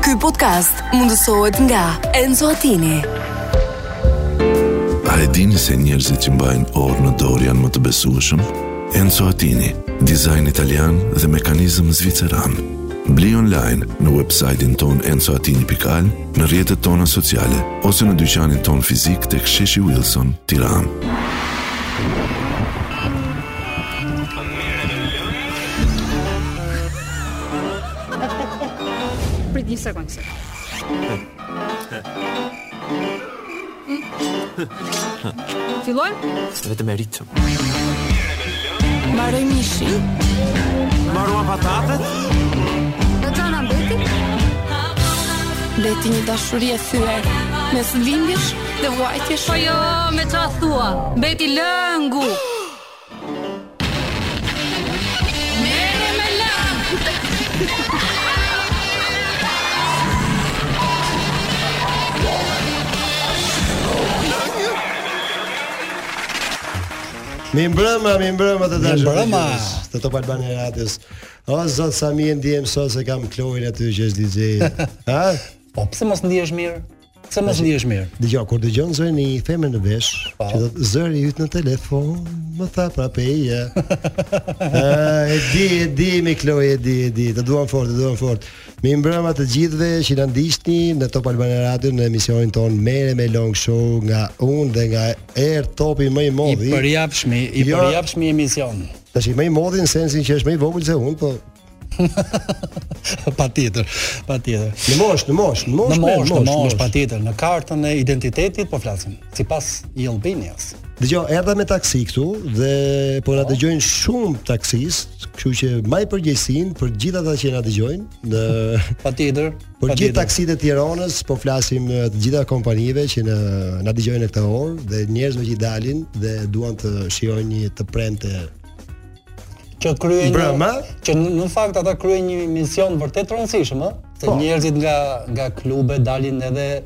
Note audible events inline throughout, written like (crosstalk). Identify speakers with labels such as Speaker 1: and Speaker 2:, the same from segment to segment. Speaker 1: Ky podcast mundësohet nga Enzo Attini.
Speaker 2: A e dini se njerëzit që mbajnë orë në dorë janë më të besueshëm? Enzo Attini, dizajn italian dhe mekanizëm zviceran. Bli online në website-in ton enzoatini.al, në rjetët tona sociale, ose në dyqanin ton fizik të ksheshi Wilson, tiran.
Speaker 3: Prit një sekundë se. Fillojmë?
Speaker 4: Vetëm e ritëm.
Speaker 1: Mbaroj mishi.
Speaker 4: Marua patatet?
Speaker 3: Në gjana mbeti?
Speaker 5: Leti një dashuri e thyer mes lindjesh dhe vuajtjesh.
Speaker 3: Po jo, me qa thua, mbeti lëngu.
Speaker 6: Mi mbrëma, mi mbrëma të dashur.
Speaker 7: mbrëma.
Speaker 6: dëgjues Të Top Albani Radios. O zot sa mi e ndiem sot se kam Kloin aty që është DJ. Ha?
Speaker 7: Po pse mos ndihesh mirë? Pse mos ndihesh mirë?
Speaker 6: Dgjoj, kur dëgjon zërin e një femre në vesh,
Speaker 7: Po.
Speaker 6: që thotë zëri yt në telefon, më tha pra prapeja. e di, e di mi Kloj, e di, e di. Të duam fort, të duam fort. Mi mbrëma të gjithëve që na ndiqni në Top Albani Radio në emisionin ton Mere me Long Show nga unë dhe nga Air Topi më po, i
Speaker 7: I
Speaker 6: modhi.
Speaker 7: përjapshmi, i
Speaker 6: Jo.
Speaker 7: përjapshmi emision. (laughs)
Speaker 6: Tash i më i modhi në sensin që është më i vogël se unë, po
Speaker 7: patjetër, patjetër.
Speaker 6: Në mosh, në mosh, në mosh,
Speaker 7: Në
Speaker 6: ne,
Speaker 7: mosh, në mosh, patjetër, në kartën e identitetit po flasim, sipas i Albanias.
Speaker 6: Dgjoj, erdha me taksi këtu dhe po
Speaker 7: Oh.
Speaker 6: na dëgjojnë shumë taksist, kështu që maj përgjegjësinë për gjithë ata që na dëgjojnë
Speaker 7: (laughs)
Speaker 6: në
Speaker 7: Patjetër.
Speaker 6: për gjithë
Speaker 7: patjetër.
Speaker 6: taksitë e Tiranës, po flasim e, të gjitha kompanive që na na dëgjojnë në këtë orë dhe njerëzve që i dalin dhe duan të shijojnë një të prente.
Speaker 7: që kryejnë
Speaker 6: Brëma.
Speaker 7: që në në fakt ata kryejnë një mision vërtet të rëndësishëm, ë, se
Speaker 6: Po.
Speaker 7: njerëzit nga nga klube dalin edhe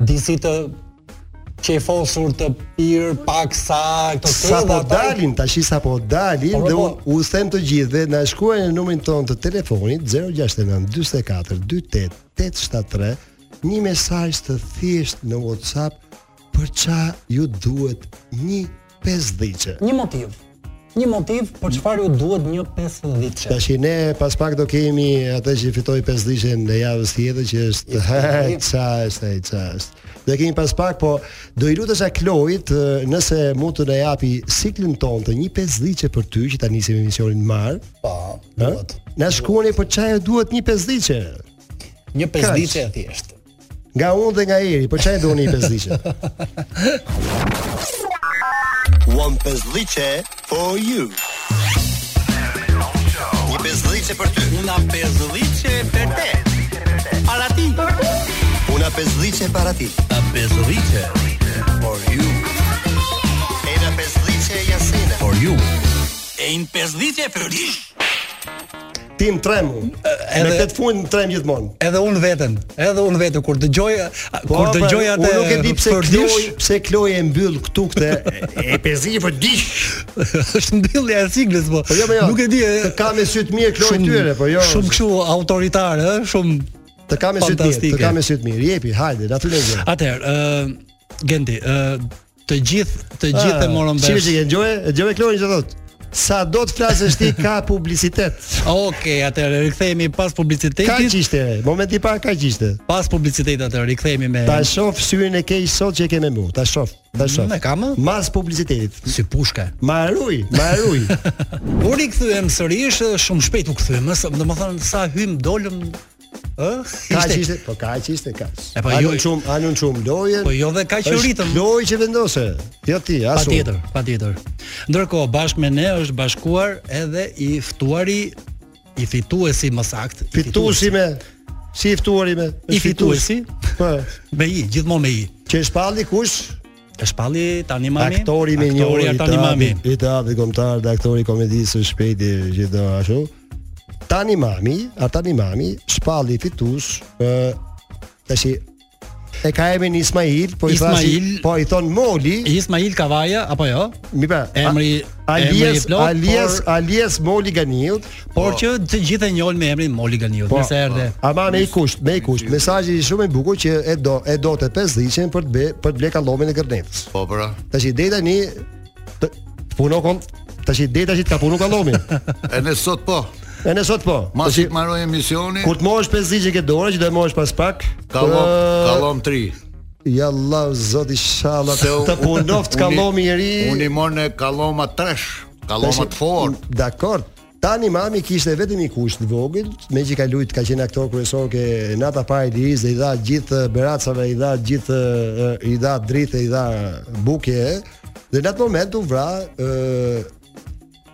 Speaker 7: disi të qefosur të pirë, pak sa, këto
Speaker 6: Sa
Speaker 7: këto,
Speaker 6: po
Speaker 7: dhe ata-
Speaker 6: dalin, tash sa po dalin
Speaker 7: Po,
Speaker 6: dhe
Speaker 7: po.
Speaker 6: unë u them të gjithë dhe na shkruajnë në numrin ton të telefonit 069 44 48 873 një mesazh të thjesht në WhatsApp për ça ju duhet një 50
Speaker 7: Një motiv. Një motiv për çfarë ju duhet një 50
Speaker 6: Tash ne pas pak do kemi atë që fitoi 50 në javës tjetër që është (laughs) ça është ai ça është. Do e kemi pas pak, po do i lutesha Kloit eh, nëse mund të na japi siklin ton të një 50 për ty që ta nisim emisionin marr.
Speaker 7: Po,
Speaker 6: Ha?
Speaker 7: duhet.
Speaker 6: Na shkuani për çaje duhet një pesdiçe.
Speaker 7: Një
Speaker 6: Kaq.
Speaker 7: 50 e thjesht.
Speaker 6: Nga unë dhe nga Eri, për çaje doni një pesdiçe.
Speaker 8: One pesdhice for you. Një pesdhice për ty. Una pesdhice për te. Para ti. Una pesdhice para ti. A pesdhice for you. Una pesdhice Jasina. For you. E një pesdhice për ti.
Speaker 6: Tim tremu. Me
Speaker 7: edhe-
Speaker 6: këtë fund në trem gjithmonë.
Speaker 7: Edhe unë veten, edhe unë veten kur dëgjoj
Speaker 6: pra,
Speaker 7: kur dëgjoj atë
Speaker 6: unë nuk e di pse
Speaker 7: përdish,
Speaker 6: Kloj, pse Kloj e mbyll këtu këtë e pesdiçe për dish.
Speaker 7: (laughs) është mbyllja e siglës po.
Speaker 6: Po jo, po jo.
Speaker 7: Nuk e di. e-
Speaker 6: Të ka me sy të mirë Kloj tyre, po jo.
Speaker 7: Shumë kështu autoritare, ë, shumë
Speaker 6: Të ka me sy të mirë, të
Speaker 7: fantastike.
Speaker 6: ka me sy të mirë. Jepi, hajde, na thuaj gjë.
Speaker 7: Atëherë, ë Genti, ë të gjithë të
Speaker 6: Ah,
Speaker 7: gjithë e morën
Speaker 6: Çfarë
Speaker 7: vesh.
Speaker 6: që e gjoje? E gjoje Kloj që thotë. Sa do të flasësh ti ka
Speaker 7: (laughs)
Speaker 6: publicitet.
Speaker 7: Okej, atëherë rikthehemi pas
Speaker 6: Ka
Speaker 7: publicitetit.
Speaker 6: qishte, momenti para ka qishte.
Speaker 7: Pas publicitetit atëherë rikthehemi me
Speaker 6: Ta shoh syrin e keq sot që e kemë mu. Ta shoh, ta shoh.
Speaker 7: Me kam, ë?
Speaker 6: Mas publicitetit.
Speaker 7: si pushka.
Speaker 6: Ma ruj, ma
Speaker 7: (laughs)
Speaker 6: ruj.
Speaker 7: U rikthyem sërish, ë, shumë shpejt u kthyem, ë, do të thonë sa hym dolëm, ë?
Speaker 6: Ka
Speaker 7: ishte-
Speaker 6: qishte, po ka qishte, ka.
Speaker 7: E po,
Speaker 6: anun
Speaker 7: jo-
Speaker 6: çum, anun çum loje.
Speaker 7: Po jo dhe kaq u ritëm.
Speaker 6: Loj që vendose. Jo ti, as unë.
Speaker 7: Patjetër, patjetër. Ndërkohë bashkë me ne është bashkuar edhe i ftuari i fituesi më saktë. i
Speaker 6: Fituesi me si i ftuari me.
Speaker 7: I
Speaker 6: është fitus.
Speaker 7: fituesi
Speaker 6: Po.
Speaker 7: me i, gjithmonë me i.
Speaker 6: Që e shpalli kush?
Speaker 7: E shpalli tani mami.
Speaker 6: Aktori me një
Speaker 7: aktori
Speaker 6: orë
Speaker 7: tani mami.
Speaker 6: I teatrit kombëtar dhe aktori i komedisë së shpejti që do ashtu. Tani mami, a tani mami, shpalli fitus, ë tash i- e ka emrin Ismail, po i thasi,
Speaker 7: Ismail.
Speaker 6: po i thon Moli,
Speaker 7: Ismail Kavaja apo jo?
Speaker 6: mi pra. a-
Speaker 7: Emri- emri i
Speaker 6: alias
Speaker 7: plot,
Speaker 6: alias
Speaker 7: por-
Speaker 6: alias Moli Ganiut,
Speaker 7: Por që të gjithë e njohin me emrin Moli Ganiut.
Speaker 6: Po.
Speaker 7: Nëse erdhe.
Speaker 6: Ama me i kusht, me i kusht. Mesazhi është shumë i bukur që e do e do të 50-shin për të be, për të ble kallomin e Gërnetës.
Speaker 9: Po pra.
Speaker 6: Tash i dej tani të të puno kon tash i dej tash të ka punu kallomin.
Speaker 9: (laughs) E ne sot po.
Speaker 6: E ne sot po.
Speaker 9: Mas
Speaker 6: Tash i-
Speaker 9: i të marroj emisioni,
Speaker 6: Kur të mosh 50 ke dorë që do e mosh pas pak.
Speaker 9: kalom,
Speaker 6: ë,
Speaker 9: kalom 3.
Speaker 6: Ja Allah zot inshallah
Speaker 9: Se u-
Speaker 6: të punoft kallomi i ri.
Speaker 9: Unë i morë në kaloma 3, kaloma të fort.
Speaker 6: Dakor. Tani mami kishte vetëm i kusht të vogël, me që ka lujt ka qenë aktor kryesor ke Nata Pa e Liris dhe i dha gjithë beracave, i dha gjithë eh, i dha dritë, i dha bukje. Dhe në atë moment u vra ë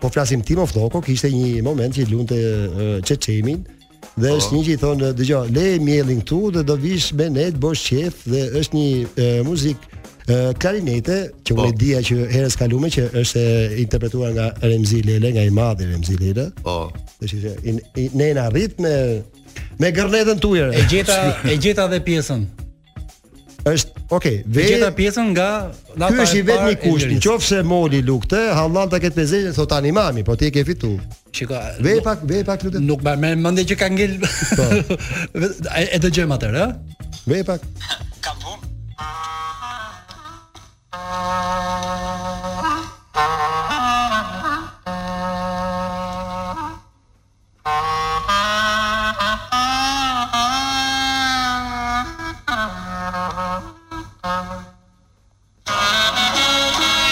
Speaker 6: po flasim Timo Floko, kishte një moment që i lunte eh, Çeçemin dhe është një që i thonë dëgjoj, le mjellin këtu dhe do vish me ne të bosh qef dhe është një eh, muzikë eh, klarinete që unë e dija që herës kalume që është eh, interpretuar nga Remzi Lele, nga i madhi Remzi Lele.
Speaker 9: Po.
Speaker 6: Dhe që i, i, ne na arrit me me gërnetën tuaj.
Speaker 7: E gjeta e gjeta dhe pjesën.
Speaker 6: Është, okay,
Speaker 7: E
Speaker 6: ve
Speaker 7: gjeta pjesën nga
Speaker 6: Ky është i vetmi
Speaker 7: parë e
Speaker 6: kusht.
Speaker 7: lirisë.
Speaker 6: Nëse moli lukte, hallan ta ketë 50 thot tani mami, po ti e ke fitu.
Speaker 7: Shiko,
Speaker 6: Ve
Speaker 7: nuk-
Speaker 6: pak, ve pak lutem.
Speaker 7: Nuk më merr mendje që ka ngel.
Speaker 6: Po.
Speaker 7: (laughs) e, e dëgjojmë atëherë, ë?
Speaker 6: Ve pak. Ah,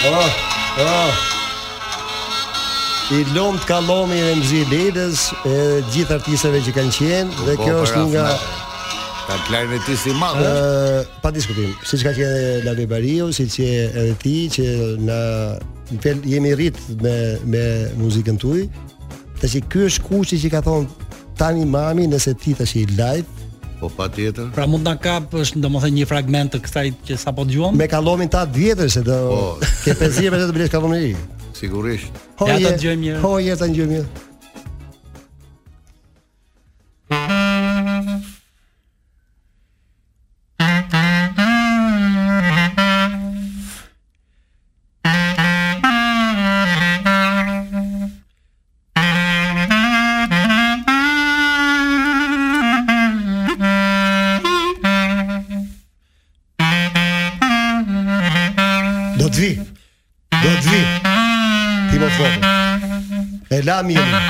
Speaker 6: Oh, oh. I lom të kalomi e mzi Ledës e gjithë artisteve që kanë qenë dhe
Speaker 9: Po,
Speaker 6: kjo është
Speaker 9: pra,
Speaker 6: një nga
Speaker 9: Ka klarinetist i madh. eh? ë?
Speaker 6: ë, pa diskutim, siç ka qenë edhe Lali Bariu, siç je edhe ti që na në fel jemi rrit me me muzikën tuaj. Tash ky është kushi që ka thonë tani mami nëse ti tash i live
Speaker 9: Po patjetër.
Speaker 7: Pra mund na kap është domethënë një fragment të kësaj që sapo dëgjuam.
Speaker 6: me kalomin ta 10 vjetësh se do
Speaker 9: Po.
Speaker 6: ke 50 vjetë të blesh kalomin e ri.
Speaker 9: Sigurisht.
Speaker 7: Ja, ta dëgjojmë një herë.
Speaker 6: Hoje ta dëgjojmë një. herë. Do të vi. Do të vi. Ti më foku. E la mirë.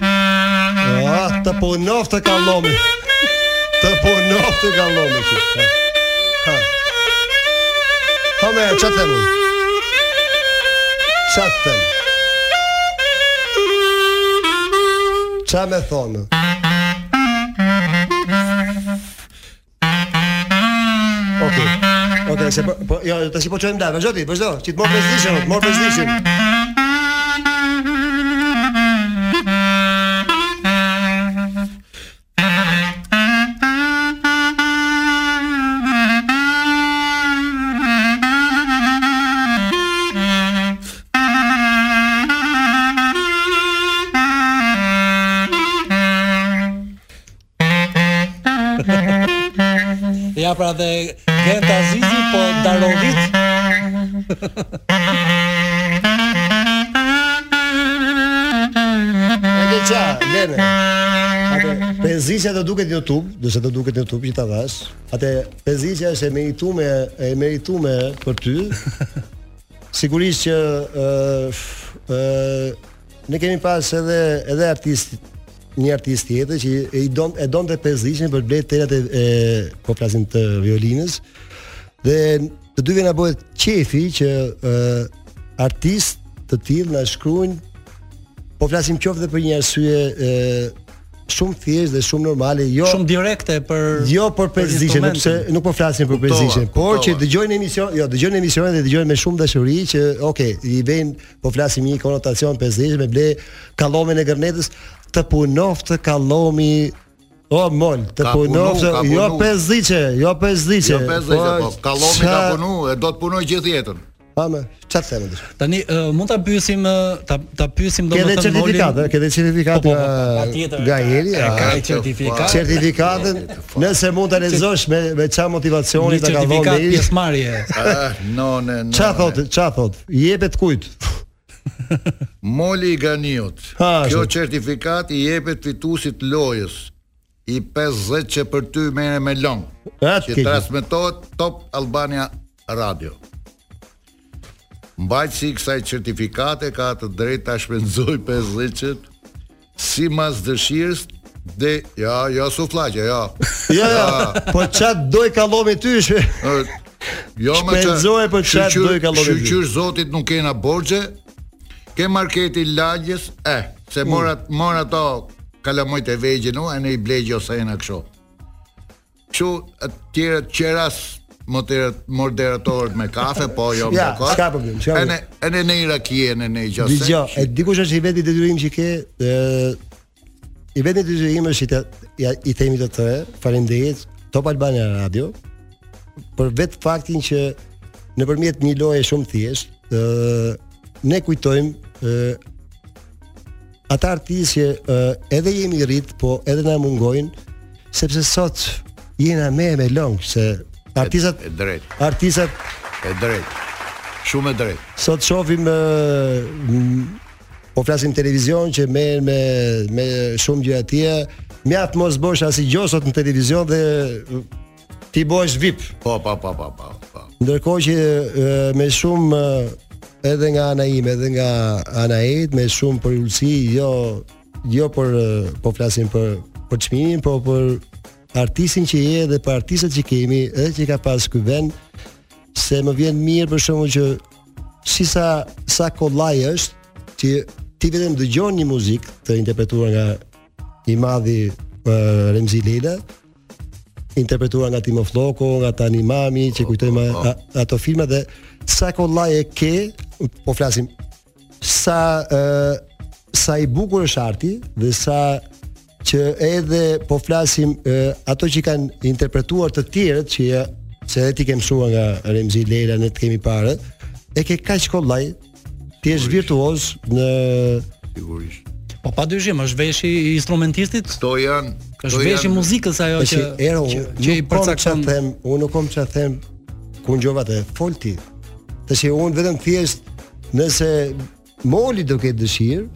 Speaker 6: Ah, të punof të kalomi. Të e punof të kalomi. Ha. Ha. Ha me, që të mu? Që të mu? Qa me thonë? Okej. Okej, se po, po jo, tash po çojmë live, vazhdo ti, vazhdo. Ti të morë pesdishën, të morë pesdishën.
Speaker 7: Ja pra dhe Gent Azizi po Darovit
Speaker 6: Edhe ça, lene. Atë pesdishja do duket në YouTube, do se do duket në YouTube që ta vash. Atë pesdishja është e meritume, e meritume për ty. Sigurisht që ë f- ë ne kemi pas edhe edhe artist një artist tjetër që i don e donte pesdishën për blet telat e, e po flasim të violinës. Dhe të dyve na bëhet qefi që ë artist të tillë na shkruajnë po flasim qoftë dhe për një arsye ë shumë thjesht dhe shumë normale, jo
Speaker 7: shumë direkte për
Speaker 6: jo për prezishën,
Speaker 7: instrumentin.
Speaker 6: sepse nuk po flasim për prezishën, por
Speaker 9: kuptova.
Speaker 6: që dëgjojnë emision, jo dëgjojnë emisionin dhe dëgjojnë me shumë dashuri që okay, i vejnë po flasim një konotacion prezishë me ble kallomin e gërnetës të punoftë kallomi O mol, të
Speaker 9: Ka punu,
Speaker 6: punoftë,
Speaker 9: ka
Speaker 6: jo
Speaker 9: punu.
Speaker 6: 50, jo 50.
Speaker 9: po, Jo 50, po kallomi ka punu, e do të punoj gjithë jetën.
Speaker 6: Ha më, çfarë them ti?
Speaker 7: Tani ë, mund ta pyesim ë, ta ta pyesim
Speaker 6: Ke edhe
Speaker 7: domethënë
Speaker 6: certifikat,
Speaker 7: Olin-
Speaker 6: ke edhe certifikat
Speaker 7: Po, po,
Speaker 6: nga
Speaker 7: po,
Speaker 10: patjetër.
Speaker 6: nga Eri.
Speaker 7: E
Speaker 6: a?
Speaker 7: ka certifikat.
Speaker 6: Certifikatën, nëse mund ta lexosh me me çfarë motivacioni
Speaker 7: Një
Speaker 6: ta ka dhënë
Speaker 7: certifikat
Speaker 6: Eri.
Speaker 7: pjesëmarrje.
Speaker 6: Eh,
Speaker 11: Ah,
Speaker 9: Eh,
Speaker 11: no, ne, no.
Speaker 6: Çfarë thot, çfarë thot? Jepet kujt?
Speaker 11: Moli i Ganiut.
Speaker 6: Ha,
Speaker 11: Kjo
Speaker 6: ashtu.
Speaker 11: certifikat i jepet fituesit lojës i 50 që për ty merre me long,
Speaker 6: Ha,
Speaker 11: që
Speaker 6: ti.
Speaker 11: transmetohet Top Albania Radio. Mbajtësi i kësaj certifikate ka të drejtë ta shpenzoj 50-çet simas dëshirës dhe ja, ja suflaqe, ja.
Speaker 6: Jo, jo. Po çat doj kallomi ty? shpe-
Speaker 11: Ë, Jo më
Speaker 6: Shpenzoje për çfarë doj ka llogari.
Speaker 11: Shqyr zotit nuk kena borxhe. Ke marketi lagjes, e,
Speaker 6: Mm.
Speaker 11: se mora mora ato kalamojt e vegjën, u, e ne i blej gjosena kështu. Kështu atëre qeras moder moderatorët me kafe, po
Speaker 6: (laughs)
Speaker 11: jo
Speaker 6: Ja,
Speaker 11: me kafe.
Speaker 6: s'ka problem, s'ka problem.
Speaker 11: Ene ene ne irakie, ene ne gjose.
Speaker 6: Dgjoj, e dikush është i vetë i detyrim që ke ë i vetë i detyrim është i të, ja, i themi të tre, faleminderit Top Albania Radio për vetë faktin që nëpërmjet një loje shumë thjesht, ë ne kujtojmë ë ata artistë që ë, edhe jemi rrit, po edhe na mungojnë sepse sot jena me me long se artistat
Speaker 11: e drejtë,
Speaker 6: artistat
Speaker 11: e drejtë. Shumë e drejtë.
Speaker 6: Sot shohim ë, m- po flasim televizion që merr me me shumë gjëra atje. Mjaft mos bosh asnjë gjë sot në televizion dhe ë, ti bëhesh VIP.
Speaker 11: Po, po, po, po, po. po.
Speaker 6: Ndërkohë që ë, me shumë ë, edhe nga ana ime, edhe nga ana e me shumë për ulësi, jo jo për ë, po flasim për për çmimin, po për artistin që je dhe për artistët që kemi, edhe që ka pas ky vend, se më vjen mirë për shkakun që si sa sa kollaj është që ti vetëm dëgjon një muzikë të interpretuar nga i madhi ë, Remzi Lela, interpretuar nga Timo Floko, nga Tani Mami, që kujtojmë a- ato filma dhe sa kollaj e ke, po flasim sa ë sa i bukur është arti dhe sa që edhe po flasim ë, ato që kanë interpretuar të tjerët që ja, se edhe ti ke mësuar nga Remzi Lela, ne të kemi parë, e ke kaq kollaj, ti je virtuoz në
Speaker 11: Sigurisht.
Speaker 7: Po padyshim është veshi i instrumentistit,
Speaker 11: Këto janë,
Speaker 7: është veshi i muzikës ajo
Speaker 6: Po
Speaker 7: që
Speaker 6: që ero,
Speaker 7: që,
Speaker 6: unë
Speaker 7: që i
Speaker 6: nuk kom që
Speaker 7: përcakton.
Speaker 6: them, unë nuk kom që them ku ngjova të fol ti. Tash unë vetëm thjesht nëse moli do ketë dëshirë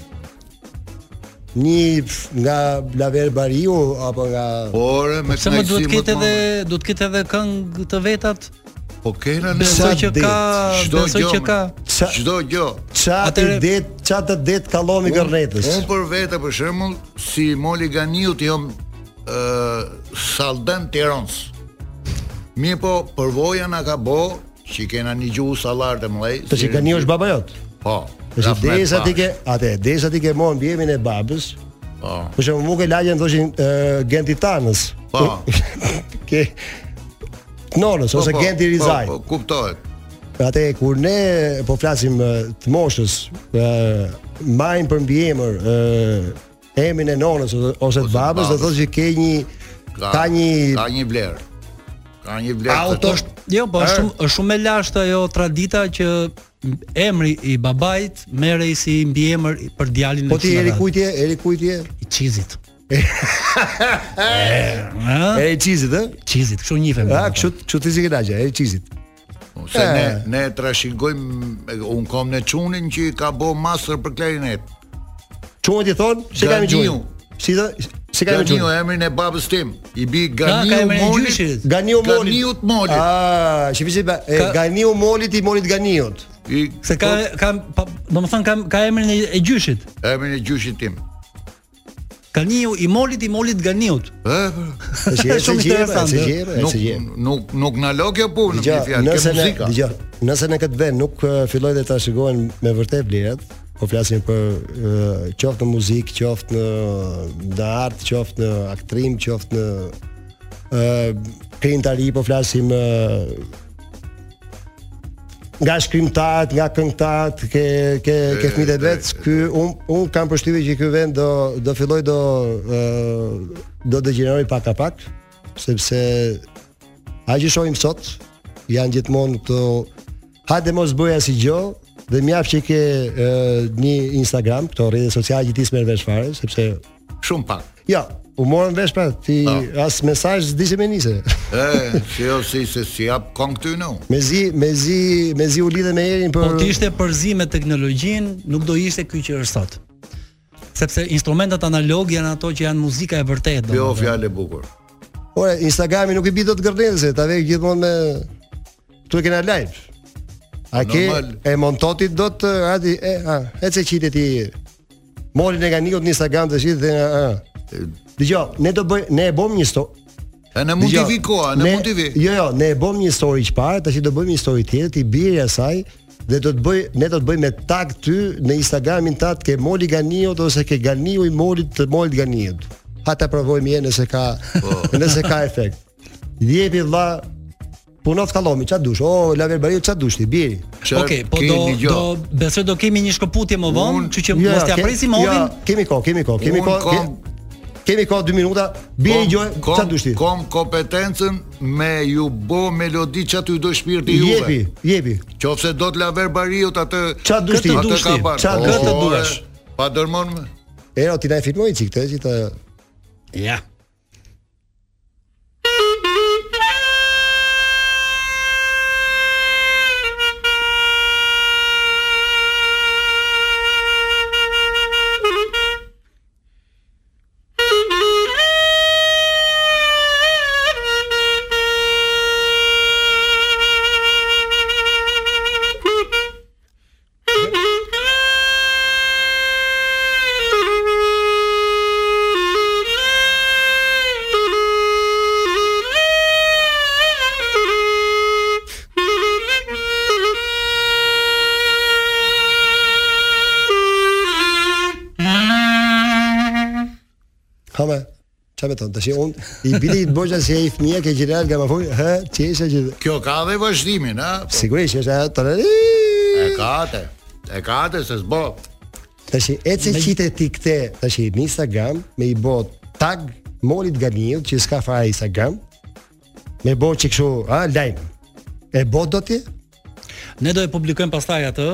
Speaker 6: një pf, nga Laver Bariu apo nga
Speaker 11: Por me
Speaker 7: Pse më duhet
Speaker 11: knajsi
Speaker 7: të ketë edhe
Speaker 11: më madhe.
Speaker 7: duhet të ketë edhe këngë të vetat?
Speaker 11: Po kena ne
Speaker 7: Besoj
Speaker 6: Sa
Speaker 7: që
Speaker 6: det,
Speaker 7: ka,
Speaker 11: çdo
Speaker 7: besoj
Speaker 11: gjë,
Speaker 7: që
Speaker 11: me-
Speaker 7: ka.
Speaker 6: Sa-
Speaker 11: çdo gjë.
Speaker 6: çat
Speaker 7: Atëre-
Speaker 6: det, çat të det kallomi gërretës.
Speaker 11: Unë po- për vete për shembull, si Moli Ganiut jam ë Saldan Tiranës. Mirë po, përvoja na ka bo që kena një gjuhë sallar të mëllej.
Speaker 6: Të që gani është baba jot.
Speaker 11: Po.
Speaker 6: Tash
Speaker 11: Rahmet
Speaker 6: desa ti
Speaker 11: Pash.
Speaker 6: ke, atë desa ti ke morën bjemin e babës.
Speaker 11: Po.
Speaker 6: Për shembull, nuk e lagjen thoshin ë, Gentitanës.
Speaker 11: Po.
Speaker 6: Ke Nonës
Speaker 11: po,
Speaker 6: ose
Speaker 11: po,
Speaker 6: Genti Rizaj.
Speaker 11: Po, po, kuptohet.
Speaker 6: Atë kur ne po flasim e, të moshës, ë mbajmë për mbiemër ë emrin e nonës ose, ose të babës, do
Speaker 11: babës.
Speaker 6: thotë që ke një ka, një
Speaker 11: ka një vlerë. Ka një vlerë.
Speaker 7: Auto
Speaker 11: të-
Speaker 7: është jo, po është
Speaker 11: Ë?
Speaker 7: shumë është shumë e lashtë ajo tradita që emri i babait merrej si mbiemër i- për djalin
Speaker 6: po ti eri
Speaker 7: kujt
Speaker 6: kujtje, eri kujtje,
Speaker 7: i çizit. Ë,
Speaker 6: eri çizit, ë?
Speaker 7: çizit, kështu njihem.
Speaker 6: A, kështu kështu ti si ke lagja, eri çizit.
Speaker 11: Se
Speaker 6: E.
Speaker 11: ne ne trashëgojmë un kom në çunin që i ka bo master për klarinet.
Speaker 6: Çuhet i thon, si kemi
Speaker 11: Ganiu.
Speaker 6: çuhet? Si do? Si kemi
Speaker 11: Ganiu
Speaker 6: çuhet?
Speaker 11: emrin e babës tim. I bi
Speaker 7: Ka ka
Speaker 11: Ganiu
Speaker 7: emrin e
Speaker 11: Molit.
Speaker 7: gjyshit.
Speaker 6: Ganiu Molit.
Speaker 11: Ganiut Molit.
Speaker 6: Ah, shifisi
Speaker 7: Ka-
Speaker 6: Ganiu Molit i Molit
Speaker 7: (laughs)
Speaker 6: Ganiut.
Speaker 11: I
Speaker 7: Se ka ka pa- domethënë ka ka emrin e, e gjyshit.
Speaker 11: emrin e gjyshit tim.
Speaker 7: Kaniu i molit i molit ganiut.
Speaker 11: Ë,
Speaker 6: Është
Speaker 7: Shumë
Speaker 6: shumë
Speaker 7: interesante.
Speaker 6: interesante. Është
Speaker 11: nuk
Speaker 6: gjë.
Speaker 11: nuk nuk na lo kjo punë me
Speaker 6: Dgjoj,
Speaker 11: fjalë, ke
Speaker 6: nëse ne,
Speaker 11: muzika.
Speaker 6: dgjoj, nëse në këtë vend nuk uh, filloj dhe ta shikohen me vërtet vlerat, po flasim për uh, qoftë në muzikë, qoftë në në art, qoftë në aktrim, qoftë në ë krimtari, po flasim ë nga shkrimtarët, nga këngëtarët, ke ke ke fëmijët e vet, ky un un kam përshtypjen që ky vend do do filloj do ë do degeneroj pak a pak, sepse a që shohim sot janë gjithmonë këto hajde mos bëja si gjo dhe mjaft që ke e, një Instagram, këto rrjete sociale që ti s'merr vesh fare, sepse
Speaker 11: shumë pak.
Speaker 6: Jo, u morën vesh pra ti as mesazh s'di që me nise. (laughs)
Speaker 11: E, si jo si se si jap këngë ty në.
Speaker 6: Mezi mezi mezi u lidhe me erin për
Speaker 7: Po të ishte përzim me teknologjinë, nuk do ishte ky që është sot. Sepse instrumentet analog janë ato që janë muzika e vërtetë.
Speaker 11: Jo
Speaker 7: domethënë.
Speaker 11: fjalë e bukur.
Speaker 6: Ore, Instagrami nuk i bi dot gërnese, ta vej gjithmonë me këtu e kena live. A ke
Speaker 11: Normal.
Speaker 6: e montoti do të hadi e a, e se qitet ti molin e ganiut në Instagram të shit dhe a. Dgjoj, ne do bëj ne e bëm një sto.
Speaker 11: E në mund t'i vi koha, në mund t'i vi.
Speaker 6: Jo, jo, ne e bëm një story çfarë, tash do bëjmë një story tjetër ti biri asaj dhe do të bëj ne do të bëjmë me tag ty në Instagramin tat ke moli ganiut ose ke ganiu i molit të molit ganiut. Ha ta provojmë një herë nëse ka
Speaker 7: Po.
Speaker 6: (laughs) nëse ka efekt. Jepi vlla punoft kallomi, ç'a dush? O, Laver Bariu ç'a dush ti, biri.
Speaker 11: Çfarë
Speaker 7: Okej, po
Speaker 11: ke
Speaker 7: do
Speaker 11: një gjë?
Speaker 7: do besoj do kemi një shkëputje më vonë,
Speaker 11: Unë-
Speaker 7: kështu që mos t'ia
Speaker 6: ke-
Speaker 7: presim
Speaker 6: jo,
Speaker 7: ovin.
Speaker 6: kemi kohë, kemi kohë, kemi
Speaker 11: Unë
Speaker 6: kohë.
Speaker 11: kom-
Speaker 6: ke- Kemi kohë 2 minuta. Biri gjoj, ç'a dush ti?
Speaker 11: Kom kompetencën me ju bo melodi që aty do shpirti juve.
Speaker 6: Jepi, jepi.
Speaker 11: Qofse do të laver bariut atë
Speaker 6: Qa dush ti?
Speaker 11: atë
Speaker 6: Këtë dush
Speaker 11: ka
Speaker 6: ti?
Speaker 11: parë.
Speaker 6: Qa-
Speaker 11: Po,
Speaker 6: këtë
Speaker 11: e,
Speaker 6: duash?
Speaker 11: Pa dërmon me.
Speaker 6: Ero ti na e filmoj çik këtë që ta
Speaker 7: Ja.
Speaker 6: Hame, qa me tonë, të shi unë, i bili i të bërgja si e i fëmija ke gjiral gamafoj, hë, qesha që...
Speaker 11: Kjo ka dhe vazhdimin, ha? Po,
Speaker 6: Sigurisht, është ajo të rëri...
Speaker 11: E ka atë. E ka atë se s'bo.
Speaker 6: Të shi, e që qite ti këte, të shi, në Instagram, me i bo tag molit ganil, që s'ka fare Instagram, me bo që këshu, a, lajmë, e bo do ti?
Speaker 7: Ne do e publikojmë pastaj atë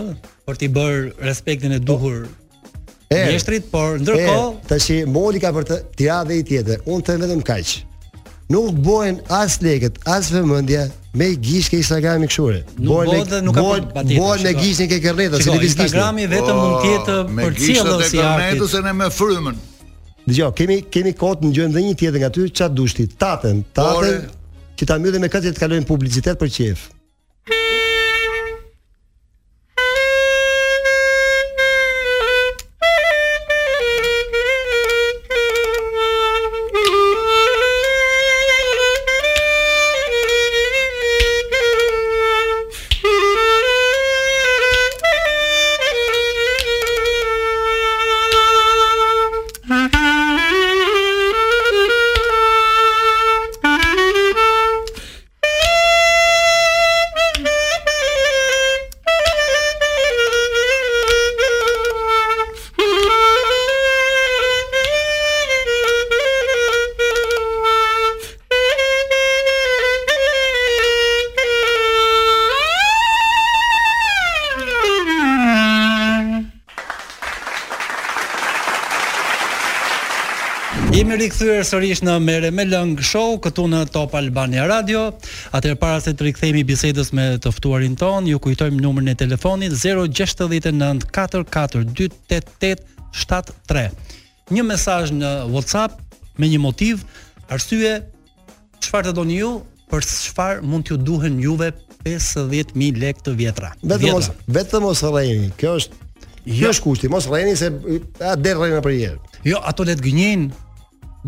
Speaker 7: për t'i bërë respektin e duhur
Speaker 6: E,
Speaker 7: mjeshtrit, por ndërkohë
Speaker 6: të shi, moli ka për të tira dhe i tjetër, unë të vetëm kaq. Nuk bohen as leket, as vëmendja me gish ke Instagrami këshure.
Speaker 7: Nuk
Speaker 6: Bohen me-
Speaker 7: bohet dhe nuk ka
Speaker 6: bohen-
Speaker 7: për- patjetër,
Speaker 6: Bohen me
Speaker 7: shiko.
Speaker 6: gishin ke kerreta, si
Speaker 7: Shiko,
Speaker 6: lëviz gishin.
Speaker 7: Instagrami vetëm mund të jetë
Speaker 11: Po, me
Speaker 7: për
Speaker 11: gishtat
Speaker 7: cilën
Speaker 11: e
Speaker 7: si artit.
Speaker 11: e me frymën.
Speaker 6: Dgjoj, kemi kemi kohë të ngjojmë dhe një tjetër nga ty, ç'a dush ti? Taten, taten
Speaker 11: Ore.
Speaker 6: që ta mbyllim me këtë që të kalojmë publicitet për qef.
Speaker 7: Jemi rikthyer sërish në Mere me Lëng Show këtu në Top Albania Radio. Atëherë para se të rikthehemi bisedës me të ftuarin ton, ju kujtojmë numrin e telefonit 069 442 8873. Një mesazh në WhatsApp me një motiv, arsye çfarë të doni ju, për çfarë mund t'ju duhen juve 50000 lekë të vjetra.
Speaker 6: Vetëm
Speaker 7: Vjetra.
Speaker 6: mos vetëm mos rrejeni. Kjo është Kjo është kushti, mos rrejeni se a del rrejna për herë.
Speaker 7: Jo, ato le të gënjejnë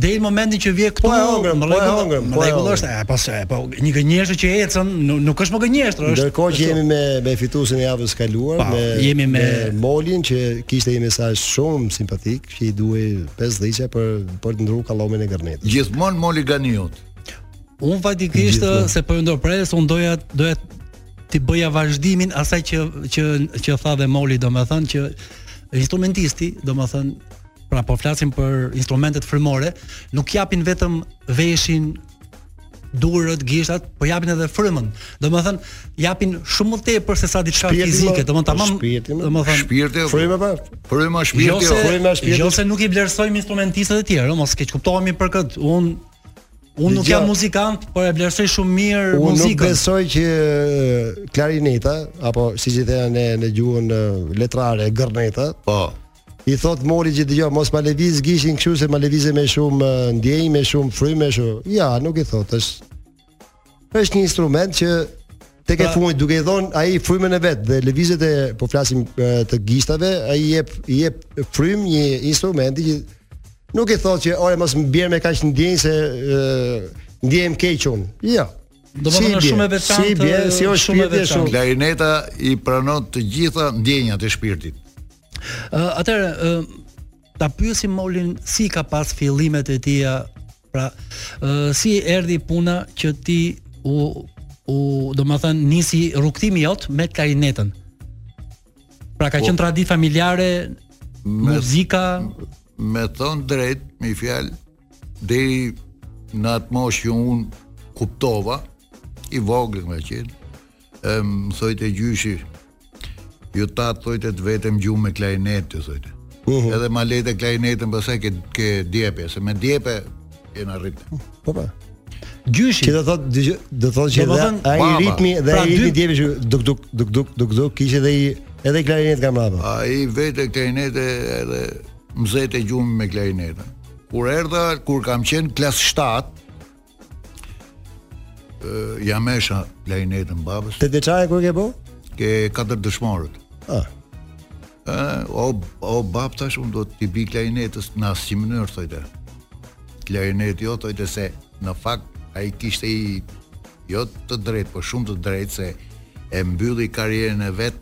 Speaker 7: deri në momentin që vje këtu.
Speaker 6: Po e hëngrëm, po
Speaker 7: në
Speaker 6: e
Speaker 7: rregull-
Speaker 6: hëngrëm,
Speaker 7: në
Speaker 6: po e
Speaker 7: rregull
Speaker 6: hëngrëm.
Speaker 7: është, e, po se, po një gënjeshtër që ecën, nu- nuk është më gënjeshtër, është.
Speaker 6: Ndërkohë që
Speaker 7: është-
Speaker 6: jemi me me fituesin e javës kaluar,
Speaker 7: Pa,
Speaker 6: me
Speaker 7: jemi me-
Speaker 6: Molin që kishte një mesazh shumë simpatik që i duhej 50 për për të ndruar kallomin e gërnetit.
Speaker 11: Gjithmonë moli ganiut.
Speaker 7: Unë faktikisht
Speaker 6: Gjithmonë.
Speaker 7: se po ndërpres, unë doja doja ti bëja vazhdimin asaj që që që tha dhe Moli, domethënë që instrumentisti, domethënë pra po flasim për instrumentet frymore, nuk japin vetëm veshin durët, gishtat, po japin edhe frymën. Domethënë japin shumë më tepër se sa diçka
Speaker 11: Shpirti,
Speaker 7: fizike,
Speaker 11: mo,
Speaker 7: domethënë tamam.
Speaker 11: shpirti, mo.
Speaker 6: Po
Speaker 7: Domethënë
Speaker 11: Shpirti, o, Fryma, pa. fryma, shpirti,
Speaker 7: Jo se
Speaker 11: o. Fryma, shpirti.
Speaker 7: jo se nuk i vlerësojmë instrumentistët e tjerë, ëh, mos keq kuptohemi për këtë. Un un nuk
Speaker 6: Dgjoj.
Speaker 7: jam muzikant, por e vlerësoj shumë mirë
Speaker 6: Unë nuk
Speaker 7: muzikën.
Speaker 6: besoj që e, klarineta apo siç i thënë në në gjuhën e, letrare gërneta.
Speaker 11: Po.
Speaker 6: I thot mori që dëgjoj mos ma lëviz gishin kështu se ma lëvizë me shumë e, ndjenjë, me shumë frymë, me shumë. Ja, nuk i thot, është është një instrument që tek e
Speaker 7: Pra-
Speaker 6: fundit duke i dhënë ai frymën e vet dhe lëvizjet e po flasim e, të gishtave, ai i jep i jep frymë një instrumenti që nuk i thot që ore mos më bjerë me kaq ndjenjë se e, ndjehem keq unë. Jo.
Speaker 7: Do më thonë,
Speaker 6: i bje,
Speaker 7: shumë e veçantë,
Speaker 6: Si i bje, si është
Speaker 7: shumë e
Speaker 6: shpirti e
Speaker 7: veçantë.
Speaker 6: shumë.
Speaker 11: Klarineta i pranon të gjitha ndjenjat e shpirtit.
Speaker 7: Uh, atëherë uh, ta pyesim Molin si ka pas fillimet e tia, pra uh, si erdhi puna që ti u u do më thënë nisi rrugtimi jot me klarinetën. Pra ka
Speaker 11: Po.
Speaker 7: qenë tradit familjare, muzika,
Speaker 11: Me thonë drejt, me fjalë, deri në atë moshë që unë kuptova, i vogël nga qenë, e, më thojtë e gjyshi, ju ta thojtë të vetëm gjumë me klarinet, të thojtë. Edhe ma lejtë e klarinetën, pastaj ke, ke djepe, se me djepe jena rritë.
Speaker 6: Po po.
Speaker 7: Gjyshi.
Speaker 6: Që do thot dëgjoj- do thot që
Speaker 11: Do më
Speaker 6: dhe
Speaker 11: thënë,
Speaker 6: ai
Speaker 11: baba.
Speaker 6: ritmi dhe
Speaker 11: Pra
Speaker 6: ai ritmi
Speaker 11: dy-
Speaker 6: djemi që duk duk duk duk duk duk kishte edhe i edhe i klarinet nga mbrapa.
Speaker 11: Ai vetë klarinete edhe mzet e gjumë me klarinetën. Kur erdha, kur kam qenë klas 7, ë jam esha klarinetën babës,
Speaker 6: Te deçare kur ke po?
Speaker 11: ke katër dëshmorët.
Speaker 6: Ah.
Speaker 11: Ë, o o bab tash unë do t'i bi klarinetës në asnjë mënyrë thotë. Klarineti jo thotë se në fakt ai kishte i jo të drejtë, por shumë të drejtë se e mbylli karrierën e vet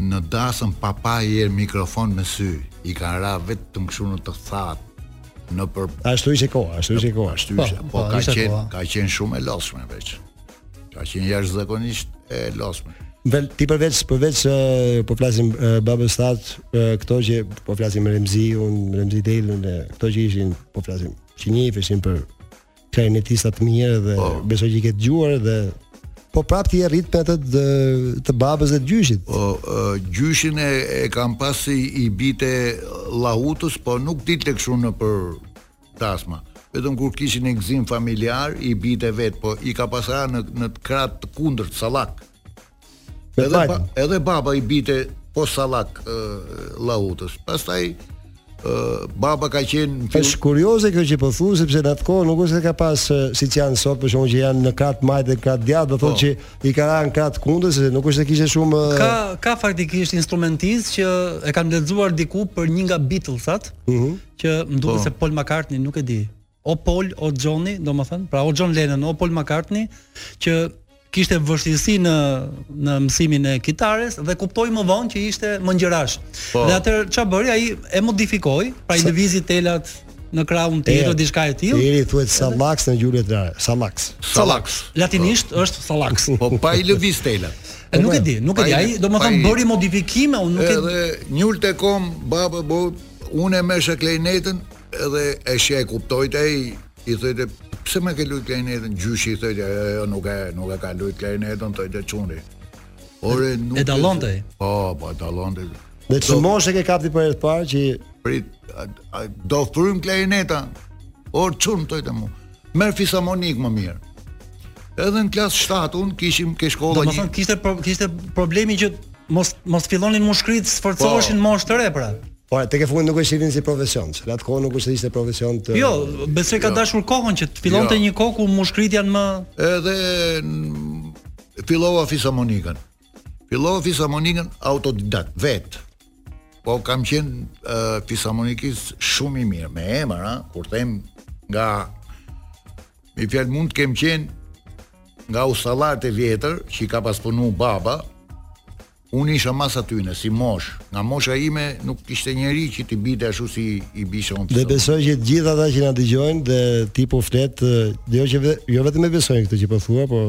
Speaker 11: në dasën papa i erë mikrofon me sy. I kanë ra vetëm kështu në të thatë në për
Speaker 6: Ashtu ishte koha, ashtu ishte koha.
Speaker 11: Ashtu ishte. Po, ka qenë ka qenë shumë e lodhshme veç. Ka qenë jashtëzakonisht e lodhshme.
Speaker 6: Vel, ti përveç përveç eh, po flasim eh, babës tat eh, këto që po flasim Remzi, un Remzi Delun dhe këto që ishin po flasim që një ishin për klarinetista të mirë dhe
Speaker 11: Po.
Speaker 6: besoj që i ke dëgjuar dhe po prap ti e rrit me atë të, të babës dhe të gjyshit.
Speaker 11: Po, ë, gjyshin e, e kam pasi i bite lahutës, po nuk ditë kështu në për tasma. Vetëm kur kishin e gzim familjar, i bite vetë, po i ka pasra në, në të kratë të kundërt, salak.
Speaker 6: Me
Speaker 11: Edhe, ba,
Speaker 6: fajtën.
Speaker 11: edhe baba i bite po salak ë, lahutës. Pastaj, ë, baba ka qenë... në fill-
Speaker 6: Është kurioze kjo që po thu sepse në atë kohë nuk është se ka pas eh, siç janë sot për shkakun që janë në krat majt dhe krat djathtë, do thotë
Speaker 7: Po.
Speaker 6: që i ka rënë krat kundër se nuk është se kishte shumë eh,
Speaker 7: ka ka faktikisht instrumentist që e kam lexuar diku për një nga Beatlesat,
Speaker 6: Mhm.
Speaker 7: që më duket
Speaker 6: Po.
Speaker 7: se Paul McCartney nuk e di. O Paul, o Johnny, domethënë, pra o John Lennon, o Paul McCartney që kishte vështirësi në në mësimin e kitares dhe kuptoi më vonë që ishte mëngjërash.
Speaker 12: Po.
Speaker 7: Dhe atëherë ç'a bëri ai e modifikoi, pra i lëvizi telat në krahun tjetër
Speaker 6: E,
Speaker 7: diçka e tillë.
Speaker 6: Eri thuhet sallaks në gjuhë letrare, sallaks.
Speaker 11: Sallaks.
Speaker 7: Latinisht është sallaks.
Speaker 11: (laughs) Po pa i lëviz telat.
Speaker 7: E, nuk e di, nuk e di.
Speaker 11: Pa i-
Speaker 7: Ai domethënë
Speaker 11: pa i-
Speaker 7: bëri modifikime, unë nuk e di.
Speaker 11: Edhe njëllë të kom, babë, bo, unë e mesha klejnetën, edhe e shë e kuptojt e i, i thëjtë, pse me ke lujt klejnetën? Gjyshi i thëjtë, e, jo, nuk e, nuk e ka lujt klejnetën, thëjtë quni. Ore, nuk
Speaker 7: e dallonte ai?
Speaker 11: Po, po, e dallonte.
Speaker 6: Dhe çë moshë ke kapti për herë të parë që
Speaker 11: Prit, a, a, do frym klejneta. Or çun thojtë mu. Merr fisamonik më mirë. Edhe në klasë 7 unë kishim ke shkolla Po, një
Speaker 7: Domethënë kishte pro, kishte problemi që mos mos fillonin mushkrit, sforcoheshin po, moshë të re pra.
Speaker 6: Po, tek e fundit nuk e shihnin si profesion, se atë kohë nuk është se ishte profesion të
Speaker 7: Jo, besoj ka dashur kohën që të fillonte
Speaker 6: Jo.
Speaker 7: një kohë ku mushkrit janë më po,
Speaker 11: edhe n- fillova fisamonikën. Fillova fisamonikën autodidakt, vet. Po kam qenë uh, fisamonikist shumë i mirë, me emër, ha, kur them nga me fjalë mund të kem qenë nga usallarët e vjetër që i ka pas punu baba, unë isha mas aty në si mosh. Nga mosha ime nuk kishte njeri që t'i bite ashtu si i bisha unë.
Speaker 6: Dhe besoj që të gjithë ata që na dëgjojnë dhe ti po flet, ë, dhe jo që ve- jo vetëm e besojnë këtë që po thua, po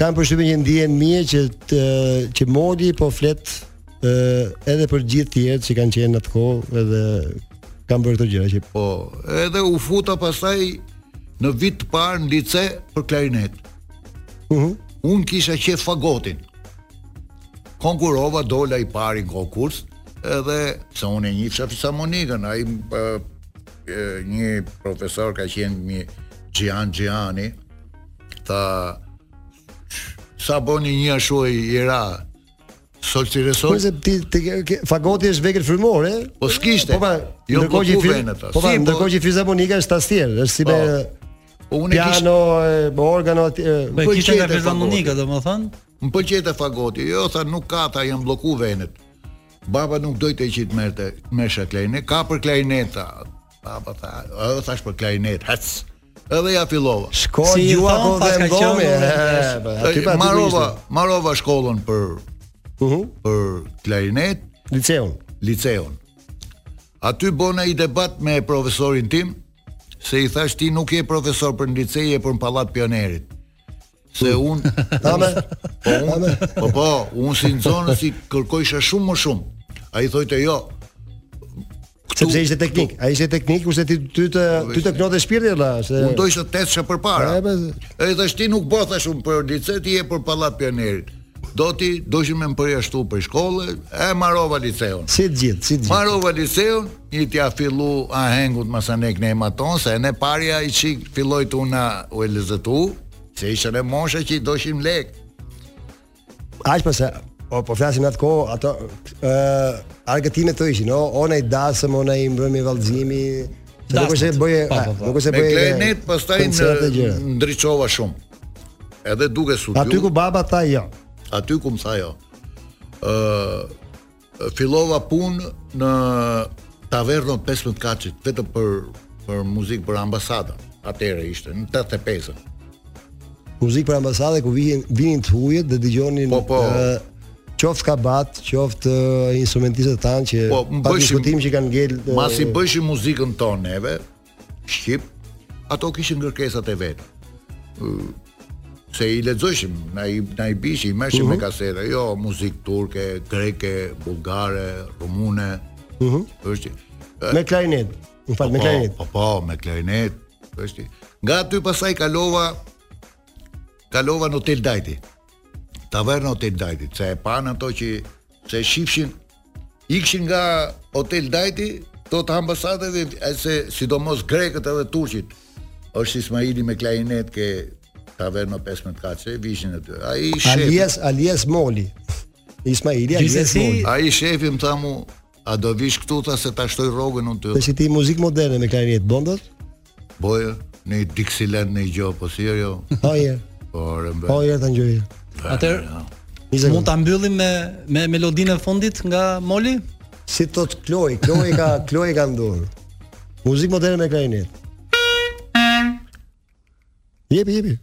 Speaker 6: kanë përshtypjen që ndihen mirë që të, që modi po flet ë, edhe për gjithë tjerët që kanë qenë në atë kohë edhe kanë bërë këto gjëra që
Speaker 11: Po, edhe u futa pastaj në vit të parë në lice për klarinet.
Speaker 6: Unë
Speaker 11: Un kisha qef fagotin. Konkurova dola i pari në konkurs, edhe se unë e njihsha fisamonikën, ai ë, ë, një profesor ka qenë një Gian Giani, tha sa boni një ashtu i ra solci
Speaker 6: Po
Speaker 11: resoj
Speaker 6: se ti ti ke- fagoti është vegël frymore.
Speaker 11: po s'kishte
Speaker 6: Po pa,
Speaker 11: jo
Speaker 6: ndërkohë që
Speaker 11: po
Speaker 6: i
Speaker 11: ku
Speaker 6: fi-
Speaker 11: venë ato
Speaker 6: Po pa, ndërkohë që fizamonika është tastier, është si
Speaker 11: Po.
Speaker 6: me
Speaker 11: Po, unë e kish-
Speaker 6: piano, e, me organo aty. e,
Speaker 11: Po, e kishte
Speaker 6: pëlqente
Speaker 11: nga fizamonika,
Speaker 6: fagoti.
Speaker 7: domethënë
Speaker 11: Më pëlqete fagoti, jo tha nuk ka, tha janë blloku venet. Baba nuk dojte që të merrte mesha klarinet, ka për klarinet. tha. Baba tha, "Ë, thash për klarinet, hac." Edhe ja fillova.
Speaker 6: Ko
Speaker 11: Shko
Speaker 6: gjua po dhe mdomi. e, po, aty pa aty ku
Speaker 11: Marova,
Speaker 6: ishte.
Speaker 11: marova shkollën për për klarinet,
Speaker 6: liceun,
Speaker 11: liceun. Aty bona i debat me profesorin tim, se i thash ti nuk je profesor për në licej, je për në pallat pionerit. Se unë
Speaker 6: (laughs)
Speaker 11: Po unë, po po, unë si nxënës i kërkojsha shumë më shumë. Ai thotë jo.
Speaker 6: Sepse ishte teknik, ai ishte teknik, kurse ti ty të ty të knote shpirti valla, se
Speaker 11: Po, Unë do ishte tesha përpara.
Speaker 6: Po, E, be,
Speaker 11: Ai thash ti nuk bëtha shumë për lice, ti je për pallat pionerit. Do ti doshin me më përjashtu për shkollë, e marrova liceun.
Speaker 6: si të gjithë, si të gjithë.
Speaker 11: Marrova liceun, i t'ja fillu ahengut masanek në ematon, se ne parja i qik filloj të una u e lëzëtu, se ishën e moshe që i doshim lek.
Speaker 6: Aq pas po po flasim në atë kohë ato ë argëtimet të ishin, o ona i dasëm, ona i mbrëmi vallëzimi. se Nuk është se bëje,
Speaker 7: Po, po,
Speaker 6: a,
Speaker 7: po.
Speaker 6: nuk është se
Speaker 11: Me
Speaker 6: bëje.
Speaker 11: klarinet pastaj
Speaker 6: koncerte, gjëra.
Speaker 11: në ndriçova shumë. Edhe duke studiu.
Speaker 6: Aty ku baba tha jo.
Speaker 11: aty ku më tha jo. Ë fillova punë në tavernën 15 kaçit vetëm për për muzikë për ambasadën. Atëherë ishte në 85-ën.
Speaker 6: Muzikë për ambasadë ku vinin vinin të hujet dhe dëgjonin
Speaker 11: Po, po.
Speaker 6: ë, qoftë kabat, qoftë ë, instrumentistët tanë që
Speaker 11: Po, më
Speaker 6: pa
Speaker 11: bëshim-
Speaker 6: diskutim që kanë ngel ë,
Speaker 11: Mas i bëshim muzikën tonë neve, shqip, ato kishin kërkesat e veta. Ë, se i lexojshim, na i na i bishim, i merrshim me kaseta, jo muzikë turke, greke, bullgare, rumune.
Speaker 6: Mhm.
Speaker 11: Është
Speaker 6: me klarinet. Më fal, me klarinet.
Speaker 11: Po, po, po, me klarinet. Është. Nga aty pasaj kalova kalova në Hotel Dajti. Taverna Hotel Dajti, se e pan ato që se shifshin ikshin nga Hotel Dajti to të ambasadave e se sidomos grekët edhe turqit. Është Ismaili me klarinet ke taverna 15 kaçe, vishin aty. Ai shefi,
Speaker 6: Alias Alias Moli. Ismaili Alias
Speaker 7: Gjithsesi,
Speaker 6: Moli.
Speaker 11: ai shefi më tha mu, a do vish këtu tha se ta shtoj rrogën unë ty.
Speaker 6: Dhe si ti muzikë moderne me klarinet bondot?
Speaker 11: Boje, në i Dixieland në i gjo, po si jo.
Speaker 6: Po je.
Speaker 11: Po, rëmbe.
Speaker 6: Po je ta ngjoj.
Speaker 7: Atëherë
Speaker 6: Një
Speaker 7: mund
Speaker 6: sekundë.
Speaker 7: ta mbyllim me me melodinë e fundit nga Moli?
Speaker 6: Si thot Kloj, Kloj ka Kloj ka ndur. Muzikë moderne me klarinet. Jepi, jepi.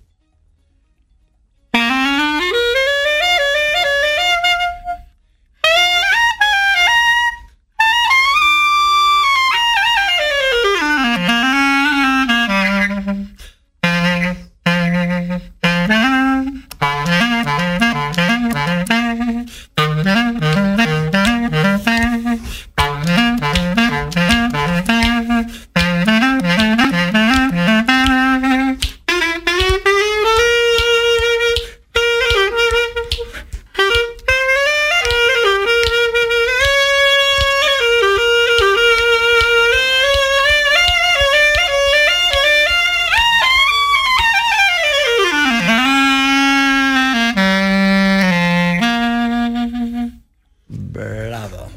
Speaker 7: Bravo.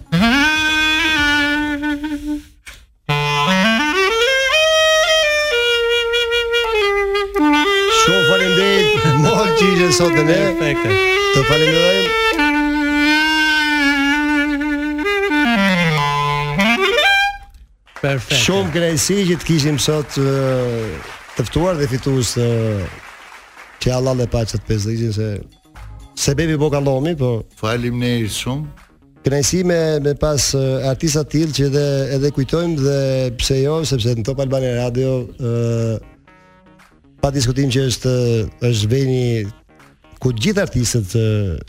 Speaker 6: Shumë faleminderit Mol që ishe sot me ne.
Speaker 7: Perfekte.
Speaker 6: Të falenderojmë.
Speaker 7: Perfekt.
Speaker 6: Shumë kënaqësi që të kishim sot ë, të ftuar dhe fitues të që Allah le paqet 50 se se bebi bokallomi, po
Speaker 11: Faleminderit shumë.
Speaker 6: kënaqësi me me pas ë, artista të tillë që edhe edhe kujtojmë dhe pse jo, sepse në Top Albania Radio ë pa diskutim që është është veni ku të gjithë artistët ë,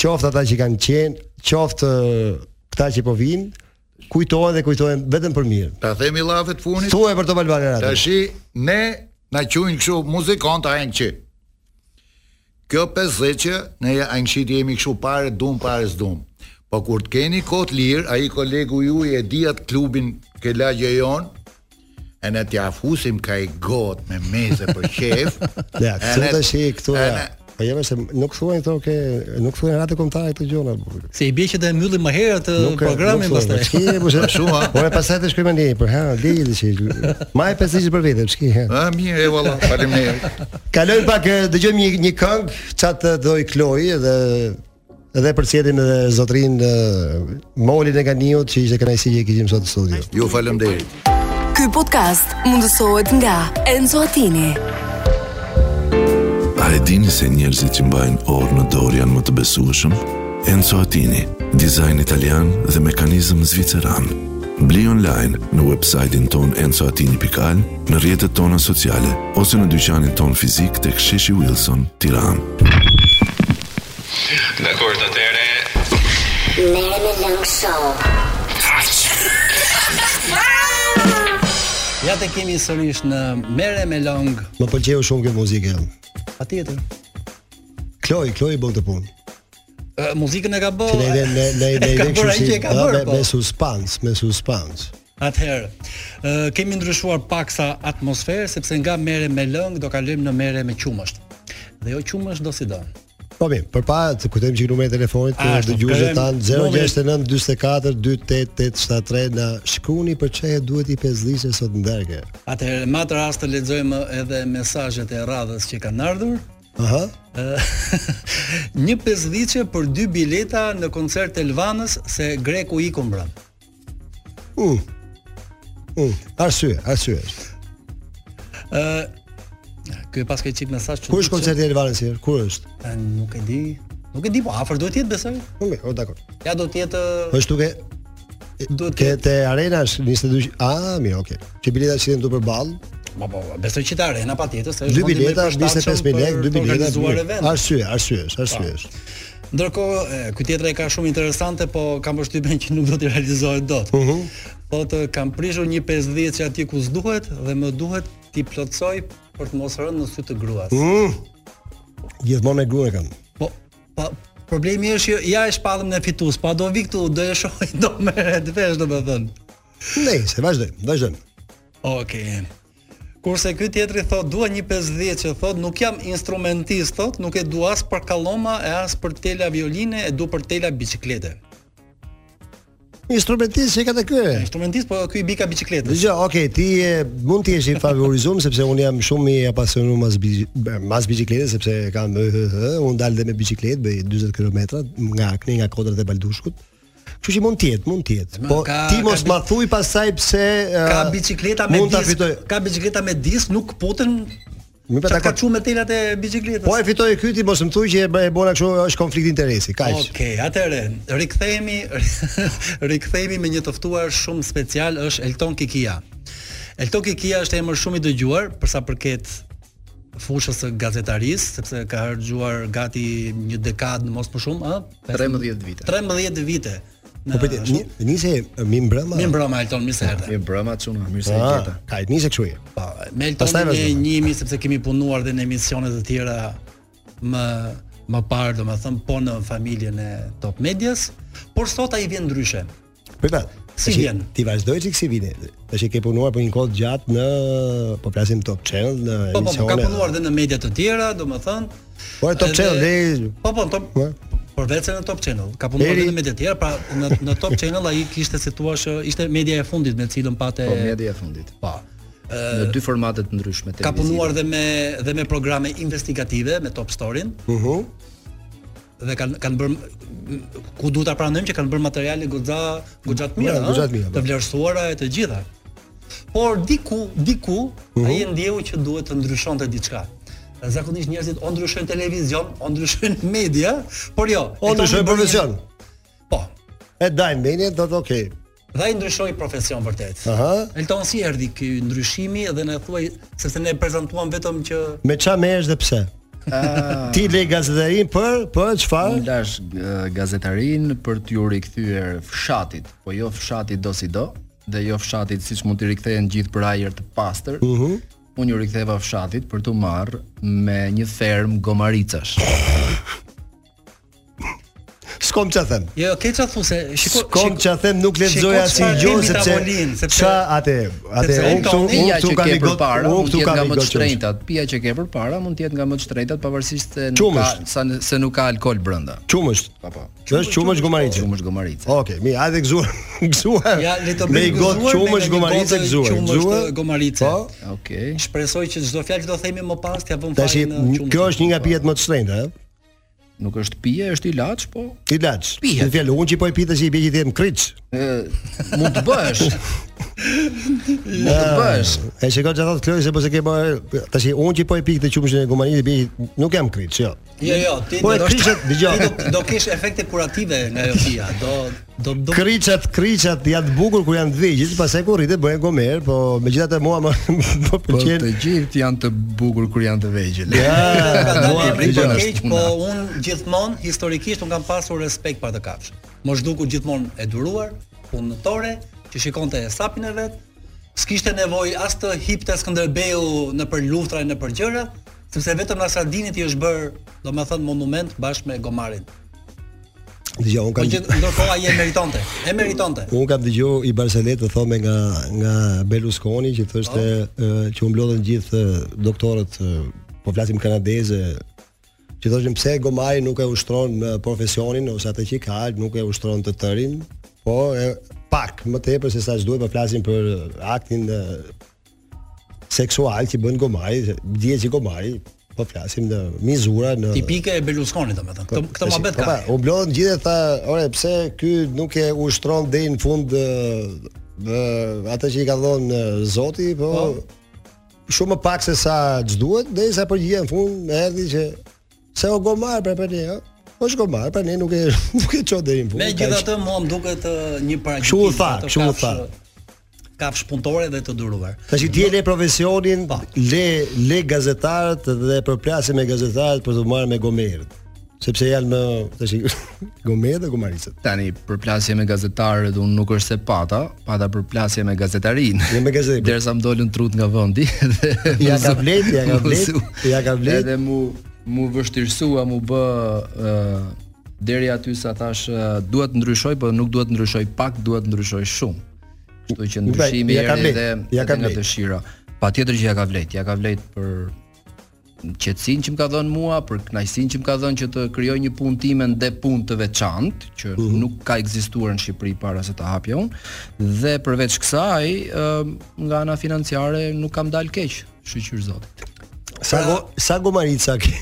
Speaker 6: qoftë ata që kanë qenë, qoftë ë, këta që po vinë, kujtohen dhe kujtohen vetëm për mirë.
Speaker 11: Ta themi llafet funit.
Speaker 6: Thuaj për Top Albana Radio.
Speaker 11: Tashi ne na quajnë kështu muzikanta që Kjo 50 që ne anqit jemi kështu pare dum pare zdum. Po kur të keni kot lirë, ai kolegu juaj e di atë klubin ke lagje jon, e ne t'ja fusim ka i got me meze për qef.
Speaker 6: Ja,
Speaker 11: e
Speaker 6: këtu
Speaker 11: ne-
Speaker 6: tash këtu.
Speaker 11: e
Speaker 6: ja.
Speaker 11: ne-
Speaker 6: Po jemi se nuk thuajnë këto ke nuk thuajnë ratë kombëtare këto gjona. po.
Speaker 7: Se i bie që të e mbyllim më herët eh,
Speaker 6: Nuk
Speaker 7: programin pastaj.
Speaker 6: (laughs) Çki po
Speaker 7: (laughs)
Speaker 6: se
Speaker 11: Shumë, a?
Speaker 6: Ora pastaj të shkruajmë ne për ha, leje të shih. Ma e pesësh për vete, çki. ha.
Speaker 11: Ah, mirë, e valla, faleminderit.
Speaker 6: Kalojmë pak eh, dëgjojmë një një këngë çat doj Kloi dhe edhe përcjellim edhe zotrin eh, Molin e Ganiut që ishte kënaqësi që e kishim sot në studio.
Speaker 11: Ju faleminderit.
Speaker 1: Ky podcast mundësohet nga Enzo Attini.
Speaker 2: A e dini se njerëzit që mbajnë orë në dorë janë më të besueshëm? Enzo Attini, dizajn italian dhe mekanizëm zviceran. Bli online në website-in ton enzoatini.al, në rjetët tona sociale, ose në dyqanin ton fizik të ksheshi Wilson, tiran.
Speaker 12: Dakor, atëre.
Speaker 13: Merë me Long Show.
Speaker 7: Ja të kemi sërish në Mere me Long.
Speaker 6: Më pëlqeu shumë kjo muzikë.
Speaker 7: Patjetër.
Speaker 6: Kloi, Kloi bën të punë.
Speaker 7: Ë, Muzikën e ka bërë.
Speaker 6: Që ne ne ne ne ne
Speaker 7: Ka bërë ai që Po, e ka
Speaker 6: ha,
Speaker 7: bërë.
Speaker 6: me-
Speaker 7: po.
Speaker 6: me suspans, me suspans.
Speaker 7: Atëherë, ë, kemi ndryshuar paksa atmosferë sepse nga mere me lëng do kalojmë në mere me qumësht. Dhe jo qumësht do si do.
Speaker 6: Po mirë, përpara të kujtojmë që numri i telefonit të
Speaker 7: Ashtu,
Speaker 6: dëgjuesve
Speaker 7: po, kërëm
Speaker 6: tan
Speaker 7: numrin.
Speaker 6: 069 44 28873 na shkruani për çfarë duhet i pesdhisë sot ndarkë.
Speaker 7: Atëherë, në atë rast të lexojmë edhe mesazhet e radhës që kanë ardhur.
Speaker 6: Aha.
Speaker 7: Ë, një pesdhiçe për dy bileta në koncert të Elvanës se Greku i kumbra.
Speaker 6: U. U. mm, Arsye, arsye.
Speaker 7: Ë, ky pas ka qip mesazh që
Speaker 6: Ku është koncerti i Elvanës sir? Kur është?
Speaker 7: Nuk e di. Nuk e di, po afër duhet të jetë besoj.
Speaker 6: Po mirë, o dakor. Po,
Speaker 7: Ja do të jetë ë,
Speaker 6: Është duke
Speaker 7: duhet
Speaker 6: ke te arena është 22. Ah, mirë, okay. Që bileta shiten këtu përballë,
Speaker 7: Po po, besoj që ta arena patjetër se
Speaker 6: dy
Speaker 7: është
Speaker 6: bileta 25000 lekë, dy bileta. mirë.
Speaker 7: bileta.
Speaker 6: Arsye, arsye, është, arsye. është.
Speaker 7: Ndërkohë, e, ky tjetra e ka shumë interesante, po kam përshtypjen që nuk do të realizohet dot.
Speaker 6: Uhu.
Speaker 7: Thotë kam prishur një 50 që atje ku s'duhet dhe më duhet ti plotsoj për të mos rënë në sy të gruas.
Speaker 6: Mm. Gjithmonë me grua e kam.
Speaker 7: Po, pa, problemi është që ja e shpallëm në fitus, pa do vi këtu do e shoh (laughs) do merret vesh domethënë.
Speaker 6: Nejse, vazhdojmë, vazhdojmë.
Speaker 7: Okej. Kurse ky tjetri thot dua një 50 që thot nuk jam instrumentist thot, nuk e dua as për kalloma e as për tela violine, e du për tela biçiklete.
Speaker 6: Instrumentist që ka të ky.
Speaker 7: Instrumentist po ky i bika biçikletës.
Speaker 6: Dgjoj, okay, ti e, mund të jesh i favorizuar sepse un jam shumë i apasionuar mas bici- mas bicikletës sepse kam ëh, un dal dhe me bicikletë bëj 40 kilometra nga Akni nga Kodrat e Baldushkut. Kështu që mund të jetë, mund të jetë. Po
Speaker 7: ka-
Speaker 6: ti
Speaker 7: ka
Speaker 6: mos
Speaker 7: bi-
Speaker 6: ma thuj pasaj pse ë,
Speaker 7: Ka biçikleta me
Speaker 6: mund ta
Speaker 7: disk,
Speaker 6: fitoj.
Speaker 7: ka biçikleta me disk, nuk puten
Speaker 6: Më
Speaker 7: çka
Speaker 6: pa
Speaker 7: ka
Speaker 6: dakord.
Speaker 7: çu me telat e biçikletës.
Speaker 6: Po e fitoi ky ti mos më thuj që e bë- e bona kështu është konflikt interesi, kaq.
Speaker 7: Okej, atëre, rikthehemi (laughs) rikthehemi me një të ftuar shumë special është Elton Kikia. Elton Kikia është emër shumë i dëgjuar për sa përket fushës së gazetarisë, sepse ka harxuar gati një dekadë në mos më shumë, ë?
Speaker 14: 13 vite.
Speaker 7: 13 vite.
Speaker 6: Po prit,
Speaker 7: ashtu.
Speaker 6: nisi mi mbrëma.
Speaker 7: Mirë mbrëma Elton, mirë se erdhe.
Speaker 14: E brama çuna, mirë se e gjeta.
Speaker 6: Ah, kaq, nisi kështu. je.
Speaker 7: Me
Speaker 6: Pastaj
Speaker 7: Eltonin e
Speaker 6: vazhdojmë.
Speaker 7: njimi sepse kemi punuar dhe në emisione të tjera më më parë, domethënë po në familjen e Top Medias, por sot ai vjen ndryshe.
Speaker 6: Privat.
Speaker 7: Si
Speaker 6: Tashi,
Speaker 7: vjen?
Speaker 6: Ti vazhdoj çik si vini. Tash ke punuar për një kohë gjatë në po flasim Top Channel në
Speaker 7: Po po, po, ka
Speaker 6: emisione.
Speaker 7: punuar dhe në media të tjera, domethënë.
Speaker 6: Po e Top
Speaker 7: edhe-
Speaker 6: Channel deri
Speaker 7: Po po, në Top
Speaker 6: Po.
Speaker 7: Përveç se në Top Channel, ka punuar
Speaker 6: Deri-
Speaker 7: edhe në media të tjera, pra në në Top Channel ai kishte si thua sh- ishte media e fundit me cilën pate
Speaker 14: Po media e fundit.
Speaker 7: Po.
Speaker 14: Në dy formate të ndryshme
Speaker 7: Ka
Speaker 14: televizive.
Speaker 7: punuar dhe me dhe me programe investigative me Top Storin
Speaker 6: Uhu.
Speaker 7: dhe kanë kanë bërë ku duhet ta pranojmë që kanë bërë materiale goxha goxha të mira,
Speaker 6: Ja,
Speaker 7: ëh,
Speaker 6: goxha të mira, po.
Speaker 7: të vlerësuara e të gjitha. Por diku, diku
Speaker 6: Mhm.
Speaker 7: ai e ndjeu që duhet të ndryshonte diçka. Zakonisht njerëzit o ndryshojnë televizion, o ndryshojnë (laughs) media, por jo.
Speaker 6: O
Speaker 7: Eltoni
Speaker 6: ndryshoj
Speaker 7: bëri një-
Speaker 6: profesion.
Speaker 7: Po.
Speaker 6: E dajnë menin, do të okay.
Speaker 7: Dhe ai ndryshoi profesion vërtet.
Speaker 6: Aha.
Speaker 7: Elton si erdhi ky ndryshimi dhe na thuaj sepse ne e prezantuam vetëm që
Speaker 6: Me ç'a merresh dhe pse? (laughs) Ti le gazetarin për për çfarë?
Speaker 14: Unë lash
Speaker 8: uh,
Speaker 14: g- gazetarin për t'ju rikthyer fshatit, po jo fshatit do si do, dhe jo fshatit siç mund t'i rikthehen gjithë për ajër të pastër.
Speaker 6: Uhu.
Speaker 14: Unë ju riktheva fshatit për t'u marr me një ferm gomaricash.
Speaker 6: S'kom çfarë them.
Speaker 7: Jo, ke çfarë thuse? Shiko,
Speaker 6: Kom që a them nuk lexoj asnjë gjë sepse ça atë atë unë këtu unë
Speaker 14: pija
Speaker 6: këtu
Speaker 14: që
Speaker 6: kam
Speaker 14: ke
Speaker 6: i got
Speaker 14: përpara
Speaker 6: unë
Speaker 14: mund
Speaker 6: këtu
Speaker 14: të jetë
Speaker 6: kam
Speaker 14: nga
Speaker 6: i
Speaker 14: më të
Speaker 6: got çrejta.
Speaker 14: shtrenjtat. Pija që ke përpara mund të jetë nga më të shtrenjtat pavarësisht se nuk ka
Speaker 6: Qumësht.
Speaker 14: sa se nuk ka alkool brenda.
Speaker 6: Çumësh.
Speaker 14: Po po.
Speaker 6: Është çumësh gomarice.
Speaker 14: Çumësh gomarice.
Speaker 6: Okej, mi, hajde gzuar. (laughs) Gzuar.
Speaker 7: Ja, le të
Speaker 6: Me i
Speaker 7: bëjmë
Speaker 6: got
Speaker 7: gëzuar,
Speaker 6: çumësh
Speaker 7: me
Speaker 6: gomarice po.
Speaker 7: gotë
Speaker 6: gzuar.
Speaker 7: Çumësh
Speaker 6: Gzuar.
Speaker 7: gomarice.
Speaker 14: Okej. Okay.
Speaker 7: Shpresoj që çdo fjalë që do themi më pas t'ia vëmë
Speaker 6: Tash
Speaker 7: fajin në çumësh.
Speaker 6: kjo është një nga pijet më të shtrenjta, eh? ëh.
Speaker 14: Nuk është pije, është ilaç, po
Speaker 6: Ilaç.
Speaker 14: Pihet.
Speaker 6: Në fjalë, unë që po e pita që i bie që ti më kriç.
Speaker 14: ë mund të
Speaker 6: (laughs)
Speaker 14: bësh. mund të
Speaker 7: Po,
Speaker 14: bësh.
Speaker 6: Eh, E shikoj çfarë thotë Kloj se po se ke bërë. Tash unë që po e pikë të çumëshin e gomarinit bie nuk jam kriç, jo.
Speaker 7: Jo, jo, ti
Speaker 6: Po e
Speaker 7: do-
Speaker 6: krishet,
Speaker 7: ti
Speaker 6: dëgjoj.
Speaker 7: do- Do kesh efekte kurative nga ajo pija. Do do do
Speaker 6: Kriçat, kriçat janë të bukur kur janë të vegjël, pastaj kur rritet bëhen gomer, po megjithatë mua më (laughs) më
Speaker 14: Po
Speaker 6: pëlqen.
Speaker 14: të gjithë janë të bukur kur janë të vegjël.
Speaker 7: (laughs)
Speaker 6: Ja,
Speaker 7: Tani
Speaker 6: mua-
Speaker 7: rri po
Speaker 14: dëgjoj,
Speaker 7: keq,
Speaker 14: është
Speaker 7: po
Speaker 14: puna.
Speaker 7: unë gjithmonë historikisht unë kam pasur respekt për atë kafshë. Mos duku gjithmonë e duruar, punëtore, që shikonte e sapin e vet. S'kishte nevojë as të hipte Skënderbeu në për luftra e në për gjëra, sepse vetëm Nasradinit i është bërë, domethënë monument bashkë me Gomarin.
Speaker 6: Dgjoj, unë
Speaker 7: Po
Speaker 6: kam
Speaker 7: që ndërkohë ai e meritonte, e meritonte.
Speaker 6: Unë kam dëgju i Barcelet të thome nga nga Berlusconi që thoshte eh, që u mblodhën gjithë eh, doktorët, eh, po flasim kanadeze, që thoshin pse Gomari nuk e ushtron eh, profesionin ose atë që i ka, nuk e ushtron të tërin, po e, pak më tepër se sa ç'duhet po flasim për eh, aktin eh, seksual që bën Gomari, se dihet që Gomari po flasim në mizura në
Speaker 7: Tipike e Berlusconit domethënë. Këtë këtë
Speaker 6: Tash,
Speaker 7: mohabet
Speaker 6: po,
Speaker 7: ka.
Speaker 6: pa, U blodhën gjithë e tha, ore, pse ky nuk e ushtron deri në fund ë, ë, atë që i ka dhënë ë, Zoti, po shumë më pak se sa ç'duhet, derisa përgjigja në fund erdhi që se o gomar pra për ne, ë. Po është gomar, pra ne nuk e (laughs) nuk e çon deri në fund.
Speaker 7: Me gjithatë mua më duket ë, një paragjykim.
Speaker 6: Kështu u tha,
Speaker 7: ato
Speaker 6: kështu u tha.
Speaker 7: kafshë- Kafshë punëtore dhe të duruar.
Speaker 6: Tash ti e le profesionin, le le gazetarët dhe përplasim me gazetarët për të marrë me gomerët. Sepse janë më tash (laughs) gomerët dhe gomaricët.
Speaker 14: Tani përplasje me gazetarët unë nuk është se pata, pata përplasje me gazetarin.
Speaker 6: Jo me gazetarin.
Speaker 14: Derisa më dolën trut nga vendi (laughs) dhe
Speaker 6: Ja ka
Speaker 14: mësu-
Speaker 6: vlet, ja
Speaker 14: (laughs)
Speaker 6: ka vlet,
Speaker 14: mësu.
Speaker 6: ja ka vlet.
Speaker 14: Edhe mu mu vështirësua, mu bë ë deri aty sa thash ë, duhet ndryshoj, po nuk duhet ndryshoj pak, duhet ndryshoj shumë. Kështu që ndryshimi
Speaker 6: pra, ja ka
Speaker 14: erdhi
Speaker 6: vlet,
Speaker 14: dhe
Speaker 6: ja ka
Speaker 14: edhe nga
Speaker 6: vlet.
Speaker 14: dëshira. Patjetër që ja ka vlet, ja ka vlet për qetësinë që më ka dhënë mua, për kënaqësinë që më ka dhënë që të krijoj një punë time ndë punë të veçantë, që
Speaker 6: Mhm.
Speaker 14: nuk ka ekzistuar në Shqipëri para se ta hapja unë, dhe përveç kësaj, ëm, nga ana financiare nuk kam dalë keq, shqyr zotit.
Speaker 6: Sa go, sa gomarica ke?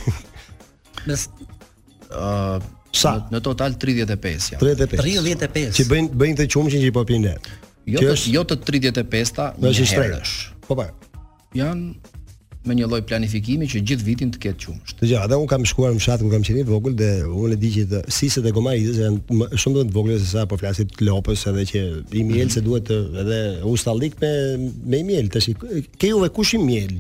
Speaker 7: Mes
Speaker 14: Ë
Speaker 6: Sa?
Speaker 14: Në, në total 35 janë.
Speaker 6: 35.
Speaker 7: 35.
Speaker 6: Që bëjnë bëjnë të qumshin që i po pinë.
Speaker 14: Jo
Speaker 6: Që
Speaker 14: të,
Speaker 6: është-
Speaker 14: jo të 35-ta
Speaker 6: Në është i
Speaker 14: herë.
Speaker 6: shtrejtë. Po pa.
Speaker 14: Janë me një lloj planifikimi që gjithë vitin të ketë qumësht.
Speaker 6: Të gjë, edhe unë kam shkuar në fshat ku kam qenë i vogël dhe unë e di që të, siset e gomaricës janë më, shumë më të vogla se sa po flasim të lopës edhe që i miel se duhet të edhe ustallik me me i miel tash. i- Ke juve kush i miel?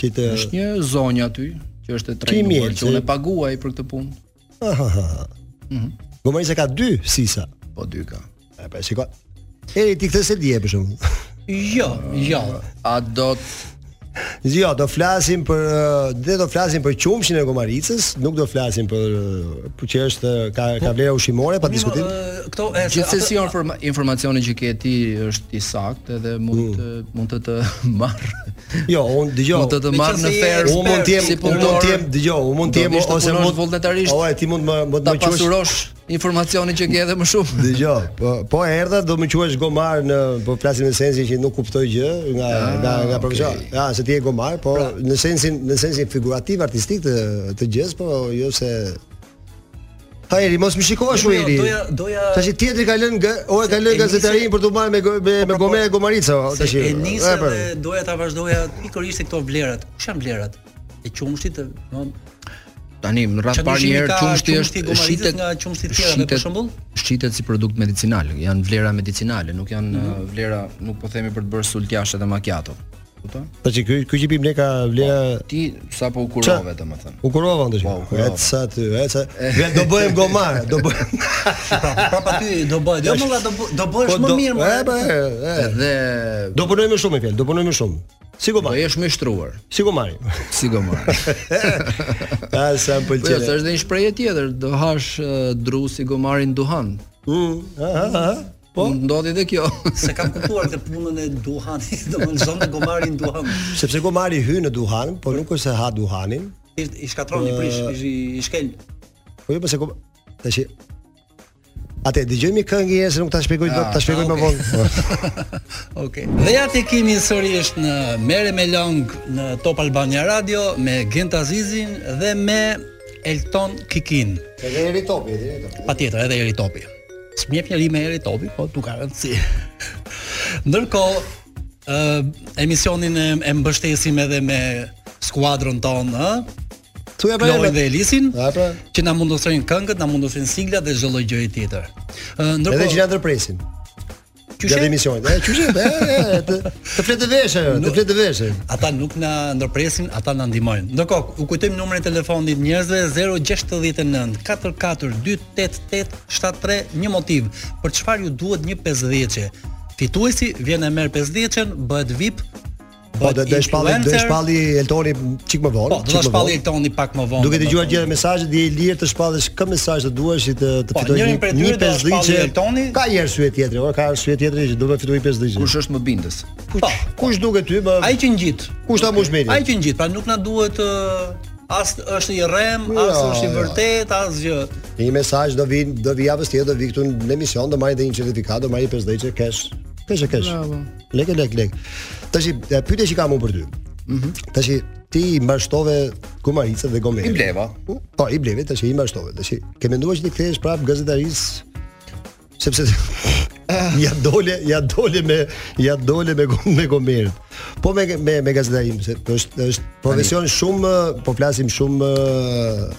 Speaker 6: Që të
Speaker 14: Është një zonjë aty që është e
Speaker 6: Kimi
Speaker 14: trajnuar
Speaker 6: e
Speaker 14: që unë
Speaker 6: që-
Speaker 14: e paguaj për këtë punë.
Speaker 6: Aha. aha. ah,
Speaker 14: Mhm.
Speaker 6: Gomarica ka dy sisa.
Speaker 14: Po dy ka.
Speaker 6: E pa shikoj. Eri ti këtë se dje për shembull.
Speaker 7: Jo, jo.
Speaker 14: A do të
Speaker 6: Jo, do flasim për ë, dhe do flasim për qumshin e gomaricës, nuk do flasim për ë, për që është ë, ka ka vlera ushqimore pa diskutim.
Speaker 7: Ë, Këto e se-
Speaker 14: Gjithsesi informa informacioni që ke ti është i saktë edhe mund të mund të të (laughs) marr.
Speaker 6: Jo, unë dëgjoj.
Speaker 14: Mund të të marr në
Speaker 7: Meqense je
Speaker 14: ferm.
Speaker 6: Unë mund të jem,
Speaker 14: si
Speaker 6: unë mund të jem, dëgjoj, unë mund të jem
Speaker 14: do të
Speaker 6: ose
Speaker 14: punosh
Speaker 6: mund
Speaker 14: vullnetarisht.
Speaker 6: Oj, ti mund më më të
Speaker 14: ta
Speaker 6: më quash.
Speaker 14: pasurosh informacionin që ke edhe më shumë.
Speaker 6: Dëgjoj, po, po erdha do më quash gomar në po flasim në sensin që nuk kuptoj gjë nga
Speaker 7: Ah,
Speaker 6: nga nga profesor.
Speaker 14: okay.
Speaker 6: Ja, se ti je gomar, po
Speaker 7: Pra.
Speaker 6: në sensin në sensin figurativ artistik të të gjës, po jo se Hajeri, mos më shikova
Speaker 7: Jo,
Speaker 6: Po, shumë
Speaker 7: jo,
Speaker 6: Eri.
Speaker 7: doja- doja-
Speaker 6: Tash i tjetri ka lënë ga- o e ka
Speaker 7: Se
Speaker 6: lënë
Speaker 7: e
Speaker 6: gazetarin
Speaker 7: nisi-
Speaker 6: për të marrë me go- me, me
Speaker 7: po,
Speaker 6: gomera e gomarica, o,
Speaker 7: Se
Speaker 6: tash.
Speaker 7: e nisë
Speaker 6: po.
Speaker 7: dhe doja ta vazhdoja pikërisht e këto vlerat. Kush janë vlerat? E qumshtit, e- do
Speaker 14: Tani në radh
Speaker 7: Që
Speaker 14: parë
Speaker 7: ndryshimi
Speaker 14: një herë
Speaker 7: ka
Speaker 14: qumshti
Speaker 7: qumshti
Speaker 14: është
Speaker 7: gomaricës
Speaker 14: shitet
Speaker 7: nga qumshti i tjerave, për shembull?
Speaker 14: Shitet si produkt Mhm. medicinal, janë vlera medicinale, nuk janë uh, vlera, nuk po themi për të bërë sultjashe dhe macchiato. kupton?
Speaker 6: Tash që ky ky që pim ne ka vlera
Speaker 14: ti sapo u kurove domethënë.
Speaker 6: U kurova ndër.
Speaker 14: Po, u kurova.
Speaker 6: Ec sa ty, ec sa. Vet do bëhem gomar, do bëhem.
Speaker 10: Prapa ty do bëhet. Jo molla do bë- do bëhesh më mirë.
Speaker 6: më. E, po, e, e.
Speaker 14: Dhe
Speaker 6: Do punoj më shumë me fjalë, do punoj më shumë. Si gomar.
Speaker 14: Do jesh më i shtruar.
Speaker 6: Si gomari.
Speaker 14: Si gomar.
Speaker 6: (laughs) A sa më
Speaker 14: Po jo,
Speaker 6: pëlqen.
Speaker 14: se është dhe një shprehje tjetër, do hash eh, dru si gomarin duhan.
Speaker 6: Mm, aha, aha.
Speaker 14: Po ndodhi dhe
Speaker 6: (laughs)
Speaker 14: kjo.
Speaker 10: Se kam kuptuar këtë punën e
Speaker 7: (laughs)
Speaker 10: duhanit, domethënë zonë gomarin duhan.
Speaker 6: Sepse gomari hyn në duhan, po nuk është se ha duhanin.
Speaker 10: I, i shkatron i prish, i, i shkel.
Speaker 6: Po jo pse kom tash Atë dëgjojmë një këngë e se nuk ta shpjegoj dot, ta shpjegoj më vonë.
Speaker 7: Okej. Dhe ja te kemi sërish në Merre me Long në Top Albania Radio me Gent Azizin dhe me Elton Kikin.
Speaker 6: Edhe eri topi, eri topi.
Speaker 7: Patjetër, edhe Eri Topi. Smjep njëri me Eri Topi, po nuk ka rëndësi. (laughs) Ndërkohë, ë emisionin e, e mbështesim edhe me skuadrën tonë, ë?
Speaker 6: Tu
Speaker 7: ja Klorin dhe Elisin,
Speaker 6: pra.
Speaker 7: që na mundosojnë këngët, na mundosojnë sigla dhe çdo lloj gjëje tjetër. Ë ndërkohë,
Speaker 6: Edhe që na ndërpresin.
Speaker 7: Qyshe?
Speaker 6: Gjatë emisionit. E, qyshe? E, e, e, të, të fletë veshë, ajo, të fletë veshë.
Speaker 7: Ata nuk na ndërpresin, ata na ndihmojnë. Ndërkohë, u kujtojmë numrin e telefonit njerëzve 069 44 288 73 një motiv. Për çfarë ju duhet një 50-çe? Fituesi vjen e merr 50-çen, bëhet VIP,
Speaker 6: Po do të shpalli, do të
Speaker 7: influencer.
Speaker 6: shpalli Eltoni çik më vonë.
Speaker 7: Po, do ta shpalli Eltoni pak më vonë.
Speaker 6: Duke dëgjuar
Speaker 7: domethënë.
Speaker 6: gjithë mesazhet, je i lirë të shpallësh kë mesazh të duash që të të
Speaker 7: Po,
Speaker 6: fitosh
Speaker 7: njërin prej tyre do ta shpalli
Speaker 6: që-
Speaker 7: Eltoni.
Speaker 6: Ka një arsye tjetër, ora ka arsye tjetër që do të fitoj 50
Speaker 14: Kush është më bindës?
Speaker 7: Po,
Speaker 6: kush duket ty, më
Speaker 7: ai që ngjit.
Speaker 6: Kush ta mush meri?
Speaker 7: Ai që ngjit, pra nuk na duhet ë, as është i rrem, as
Speaker 6: Jo,
Speaker 7: është i
Speaker 6: jo.
Speaker 7: vërtet, asgjë.
Speaker 6: Një mesazh do vi do vi javës tjetër, do vi këtu në emision, do marrim dhe një certifikat, do marrim 50 që kesh. Kesh e kesh.
Speaker 14: Bravo.
Speaker 6: Lek e lek lek. Tash e, pyetja që kam unë për ty. Mhm. Tash ti i mbashtove Kumaricën dhe Gomerin.
Speaker 14: I bleva.
Speaker 6: Po, i bleve tash i mbashtove. Tash ke menduar që ti kthehesh prap gazetaris sepse ja dole, ja dole me ja dole me Gom- me Gomerin. Po me me me gazetarin, se është është profesion shumë, po flasim shumë ë,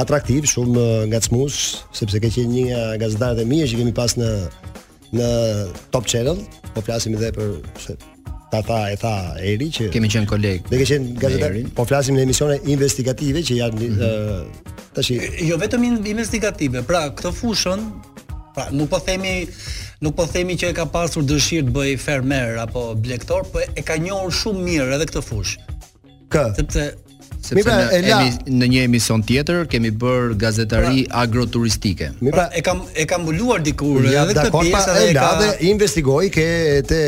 Speaker 6: atraktiv, shumë ë, ngacmues, sepse ka qenë një nga gazetarët e mirë që kemi pas në në Top Channel, po flasim edhe për se ta tha e tha Eri që
Speaker 14: Kemi qenë kolegë.
Speaker 6: dhe ka qenë gazetar,
Speaker 14: Erin.
Speaker 6: po flasim në emisione investigative që janë
Speaker 14: Mhm.
Speaker 6: mm tash
Speaker 7: jo vetëm in- investigative. Pra, këtë fushën, pra nuk po themi nuk po themi që e ka pasur dëshirë të bëj fermer apo blektor, po e ka njohur shumë mirë edhe këtë fushë.
Speaker 6: Kë?
Speaker 7: Sepse
Speaker 14: Sepse
Speaker 6: pra,
Speaker 14: në, emi, në një emision tjetër kemi bërë gazetari
Speaker 6: Pra.
Speaker 14: agroturistike.
Speaker 6: Mi pra,
Speaker 7: e kam e kam mbuluar dikur
Speaker 6: Ja,
Speaker 7: edhe këtë
Speaker 6: dakor, pa
Speaker 7: pjesë
Speaker 6: e
Speaker 7: edhe e
Speaker 6: la
Speaker 7: ka
Speaker 6: dhe investigoi ke te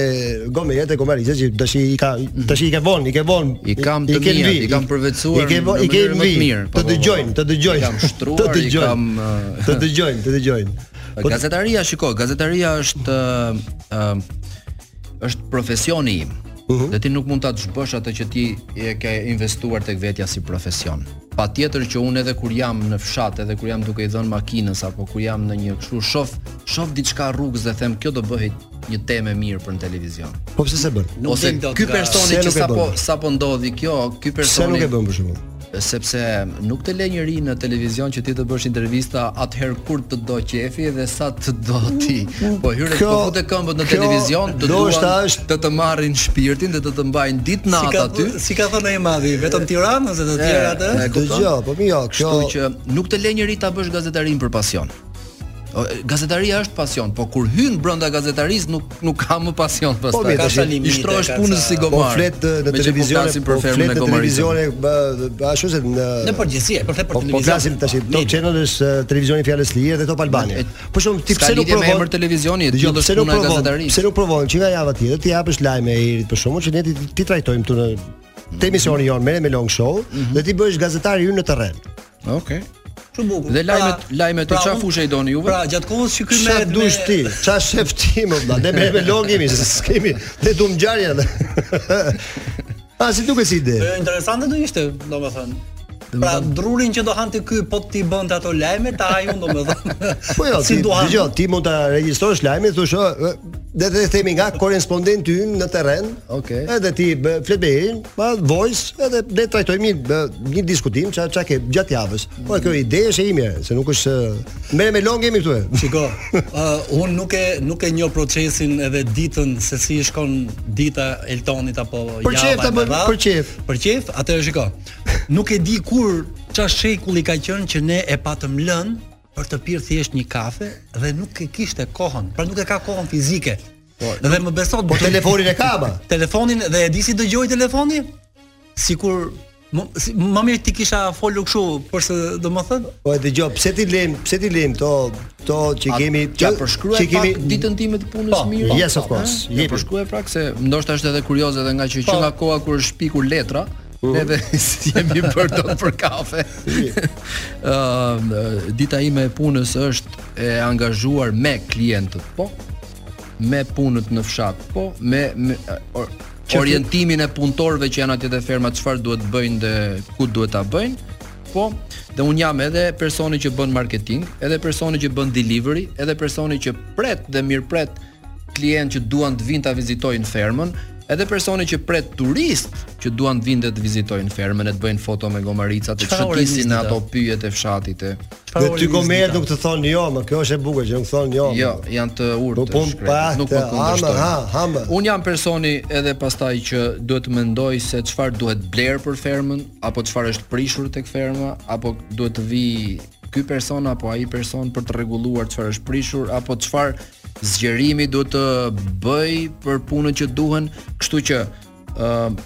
Speaker 6: Gomeret e Komarice që tash i ka tash i ke vonë, i ke vonë.
Speaker 14: Mhm. I kam të
Speaker 6: ke në
Speaker 14: mia,
Speaker 6: vi,
Speaker 14: i kam përvetësuar
Speaker 6: I ke vonë, i
Speaker 14: në
Speaker 6: ke
Speaker 14: mënyrë
Speaker 6: në
Speaker 14: më të
Speaker 6: vi,
Speaker 14: mirë, po,
Speaker 6: Të
Speaker 14: po, po.
Speaker 6: dëgjojnë, të dëgjojnë.
Speaker 14: I kam shtruar,
Speaker 6: të
Speaker 14: i
Speaker 6: dëgjojnë, (laughs)
Speaker 14: kam, eh,
Speaker 6: Të dëgjojnë, të dëgjojnë. Po-
Speaker 14: Gazetaria, shiko, gazetaria është ë ë, është profesioni im.
Speaker 6: Mhm.
Speaker 14: Dhe ti nuk mund ta zhbësh atë që ti e ke investuar tek vetja si profesion. Patjetër që unë edhe kur jam në fshat, edhe kur jam duke i dhënë makinës apo kur jam në një kështu shof, shof diçka rrugës dhe them kjo do bëhet një temë e mirë për në televizion.
Speaker 6: Po pse se bën?
Speaker 7: Nuk
Speaker 14: Ose
Speaker 7: del dot
Speaker 14: ky
Speaker 7: nga-
Speaker 14: personi
Speaker 6: Pse
Speaker 14: që
Speaker 6: nuk e
Speaker 14: sapo
Speaker 6: bën?
Speaker 14: sapo ndodhi kjo, ky
Speaker 6: Pse
Speaker 14: personi
Speaker 6: nuk e bën për shembull?
Speaker 14: sepse nuk të le njëri në televizion që ti të bësh intervista atëherë kur të do qefi dhe sa të do ti. Po hyrë të
Speaker 6: Kjo-
Speaker 14: futë këmbët në
Speaker 6: kjo
Speaker 14: televizion, të duan
Speaker 6: ndoshta është-
Speaker 14: të të marrin shpirtin dhe të të mbajnë ditë
Speaker 7: si
Speaker 14: natë
Speaker 7: ka
Speaker 14: aty.
Speaker 7: si ka thënë ai madhi, vetëm Tiranë ose të tjera atë?
Speaker 14: E, e kupton?
Speaker 6: Dëgjoj, po mirë, kjo
Speaker 14: Kështu që nuk të le njëri ta bësh gazetarin për pasion. O, e, Gazetaria është pasion, po kur hyn brenda gazetarisë nuk nuk ka më pasion
Speaker 6: Po
Speaker 14: pastaj.
Speaker 6: mirë, tash,
Speaker 14: I shtrohesh punës si
Speaker 6: Po
Speaker 14: gomar.
Speaker 6: flet eh, në
Speaker 14: Me që po
Speaker 6: televizion,
Speaker 14: flasim për
Speaker 6: po
Speaker 14: fermën
Speaker 6: flet
Speaker 14: e
Speaker 6: në
Speaker 14: gomarit.
Speaker 6: televizion, ashtu se në
Speaker 7: Në përgjithësi, e përthe për
Speaker 6: Po po
Speaker 7: televizion.
Speaker 6: flasim tash Top Channel është eh, televizioni fjalës lirë dhe Top Albania. Po shumë ti
Speaker 14: Ska
Speaker 6: pse nuk
Speaker 14: lidhje me
Speaker 6: provon?
Speaker 14: emër televizioni,
Speaker 6: Dëgjoj,
Speaker 14: kjo do
Speaker 6: pse
Speaker 14: është
Speaker 6: nuk
Speaker 14: puna e
Speaker 6: provon?
Speaker 14: gazetarisë.
Speaker 6: Pse nuk provon që nga java tjetër ti japësh lajme e Erit për shkakun që ne ti, ti trajtojmë këtu në te emisioni jon merre me long show dhe ti bësh gazetar hyn në terren.
Speaker 14: Okej.
Speaker 7: Shumë bukur.
Speaker 14: Dhe lajmet lajmet
Speaker 7: pra,
Speaker 14: çfarë
Speaker 7: unë-
Speaker 14: fushë i doni juve?
Speaker 7: Pra, gjatë kohës që ky
Speaker 6: Ç'a
Speaker 7: merret
Speaker 6: dush ti? Ç'a shef ti më vëlla? Ne merre me long jemi, se s'kemi ne duam ngjarje. (laughs) A si duket si ide?
Speaker 7: E, Interesante do ishte, domethënë. Pra drurin që do hante ky po ti bënte ato lajme, ta haj unë domethënë.
Speaker 6: (laughs) Po jo,
Speaker 7: si
Speaker 6: ti
Speaker 7: duan.
Speaker 6: dëgjoj, ti mund ta regjistrosh lajmin, thosh, "Ë, ë, Dhe të themi nga korrespondenti ynë në terren.
Speaker 14: Okej.
Speaker 6: Edhe ti bë, flet me Erin, pa voice, edhe ne trajtojmë një bë, një diskutim ça ça ke gjatë javës. Po kjo ide është e ime, se nuk është ë, merre me long jemi këtu.
Speaker 14: (laughs)
Speaker 7: Shiko, uh, unë nuk e nuk e njoh procesin edhe ditën se si shkon dita e Eltonit apo
Speaker 6: Për qef ta
Speaker 7: e me
Speaker 6: bën,
Speaker 7: radhë.
Speaker 6: për qef.
Speaker 7: Për qef, atëherë shiko. Nuk e di kur çfarë shekulli ka qenë që ne e patëm lënë për të pirë thjesht një kafe dhe nuk e kishte kohën, pra nuk e ka kohën fizike. dhe më besot
Speaker 6: Po telefonin e ka, ama.
Speaker 7: Telefonin dhe e di si dëgjoj telefoni? Sikur Më, si, më mirë ti kisha folur kështu për se do më thënë
Speaker 6: Po e dëgjoj, pse ti lëm, pse ti lëm to to që kemi
Speaker 14: Ja përshkruaj pak ditën time të punës
Speaker 6: Po,
Speaker 14: mirë.
Speaker 6: yes, of course.
Speaker 14: Ja
Speaker 6: Jepi.
Speaker 14: përshkruaj pak se ndoshta është edhe kurioze edhe nga që që nga koha kur është pikur letra, neve (laughs) si jemi bërë dot për kafe. (laughs) Ëm dita ime e punës është e angazhuar me klientët, po, me punët në fshat, po, me, me or,
Speaker 15: Që-
Speaker 14: orientimin e punëtorëve që janë atje te ferma, çfarë duhet bëjnë dhe ku duhet ta bëjnë. Po, dhe un jam edhe personi që bën marketing, edhe personi që bën delivery, edhe personi që pret dhe mirëpret klientë që duan të vinë ta vizitojnë fermën, edhe personi që pret turist që duan të vinë dhe të vizitojnë fermën, e të bëjnë foto me gomarica, të
Speaker 6: Çfarë ore
Speaker 14: shëtisin
Speaker 6: nisni ta?
Speaker 14: ato pyjet e fshatit e.
Speaker 6: Dhe ty gomerët nuk të thonë jo, më kjo është e bukur që nuk thonë jo.
Speaker 14: Jo, janë të
Speaker 6: Po,
Speaker 14: urtë.
Speaker 6: po, pa,
Speaker 14: nuk
Speaker 6: të-
Speaker 14: më kundërshtojnë.
Speaker 6: ama, ha,
Speaker 14: Un jam personi edhe pastaj që duhet të mendoj se çfarë duhet bler për fermën, apo çfarë është prishur tek ferma, apo duhet të vi ky person apo ai person për të rregulluar çfarë është prishur, apo çfarë zgjerimi duhet të bëj për punën që duhen, kështu që ë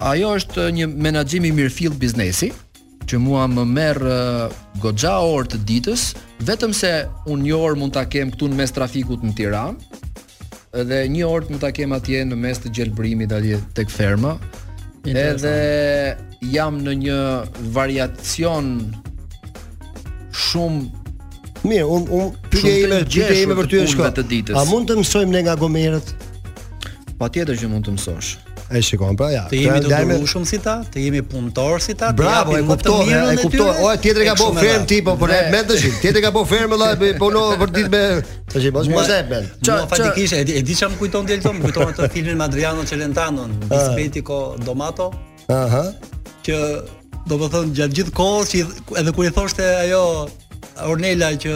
Speaker 14: ajo është një menaxhim i mirëfill biznesi që mua më merr uh, goxha orë të ditës, vetëm se unë një orë mund ta kem këtu në mes trafikut në Tiranë, edhe një orë mund ta kem atje në mes të gjelbrimit atje tek ferma. Edhe jam në një variacion shumë
Speaker 6: Mirë, un un pyetja
Speaker 14: Shumë të
Speaker 6: ime, pyetja
Speaker 14: ngjeshur
Speaker 6: ime për
Speaker 14: të
Speaker 6: ty është
Speaker 14: punëve të
Speaker 6: kjo.
Speaker 14: ditës.
Speaker 6: A mund të mësojmë ne nga gomerët?
Speaker 14: patjetër që mund të mësosh.
Speaker 6: E shikon, pra ja.
Speaker 7: Të jemi të
Speaker 6: Pra, lajme-
Speaker 7: durushëm si ta, të jemi punëtor si ta, të
Speaker 6: Bravo, e
Speaker 7: japim më të
Speaker 6: kuptoj,
Speaker 7: mirën
Speaker 6: e
Speaker 7: e
Speaker 6: kuptoj.
Speaker 7: tyre,
Speaker 6: O, tjetri ka
Speaker 7: e
Speaker 6: bëu
Speaker 7: kështu me
Speaker 6: ferm
Speaker 7: radhë.
Speaker 6: ti, po por e
Speaker 7: Dhe-
Speaker 6: mend tash. Tjetri ka bëu ferm vëlla, e puno për ditë me tash mos
Speaker 7: Mua-
Speaker 6: mos e bën.
Speaker 7: Mua fatikisht e di- e di çam kujton djalton, më kujton atë filmin me Adriano Celentano,
Speaker 6: Ah.
Speaker 7: Bispetico Domato,
Speaker 6: Aha.
Speaker 7: që do të thonë gjatë gjithë kohës që i- edhe kur i thoshte ajo Ornela që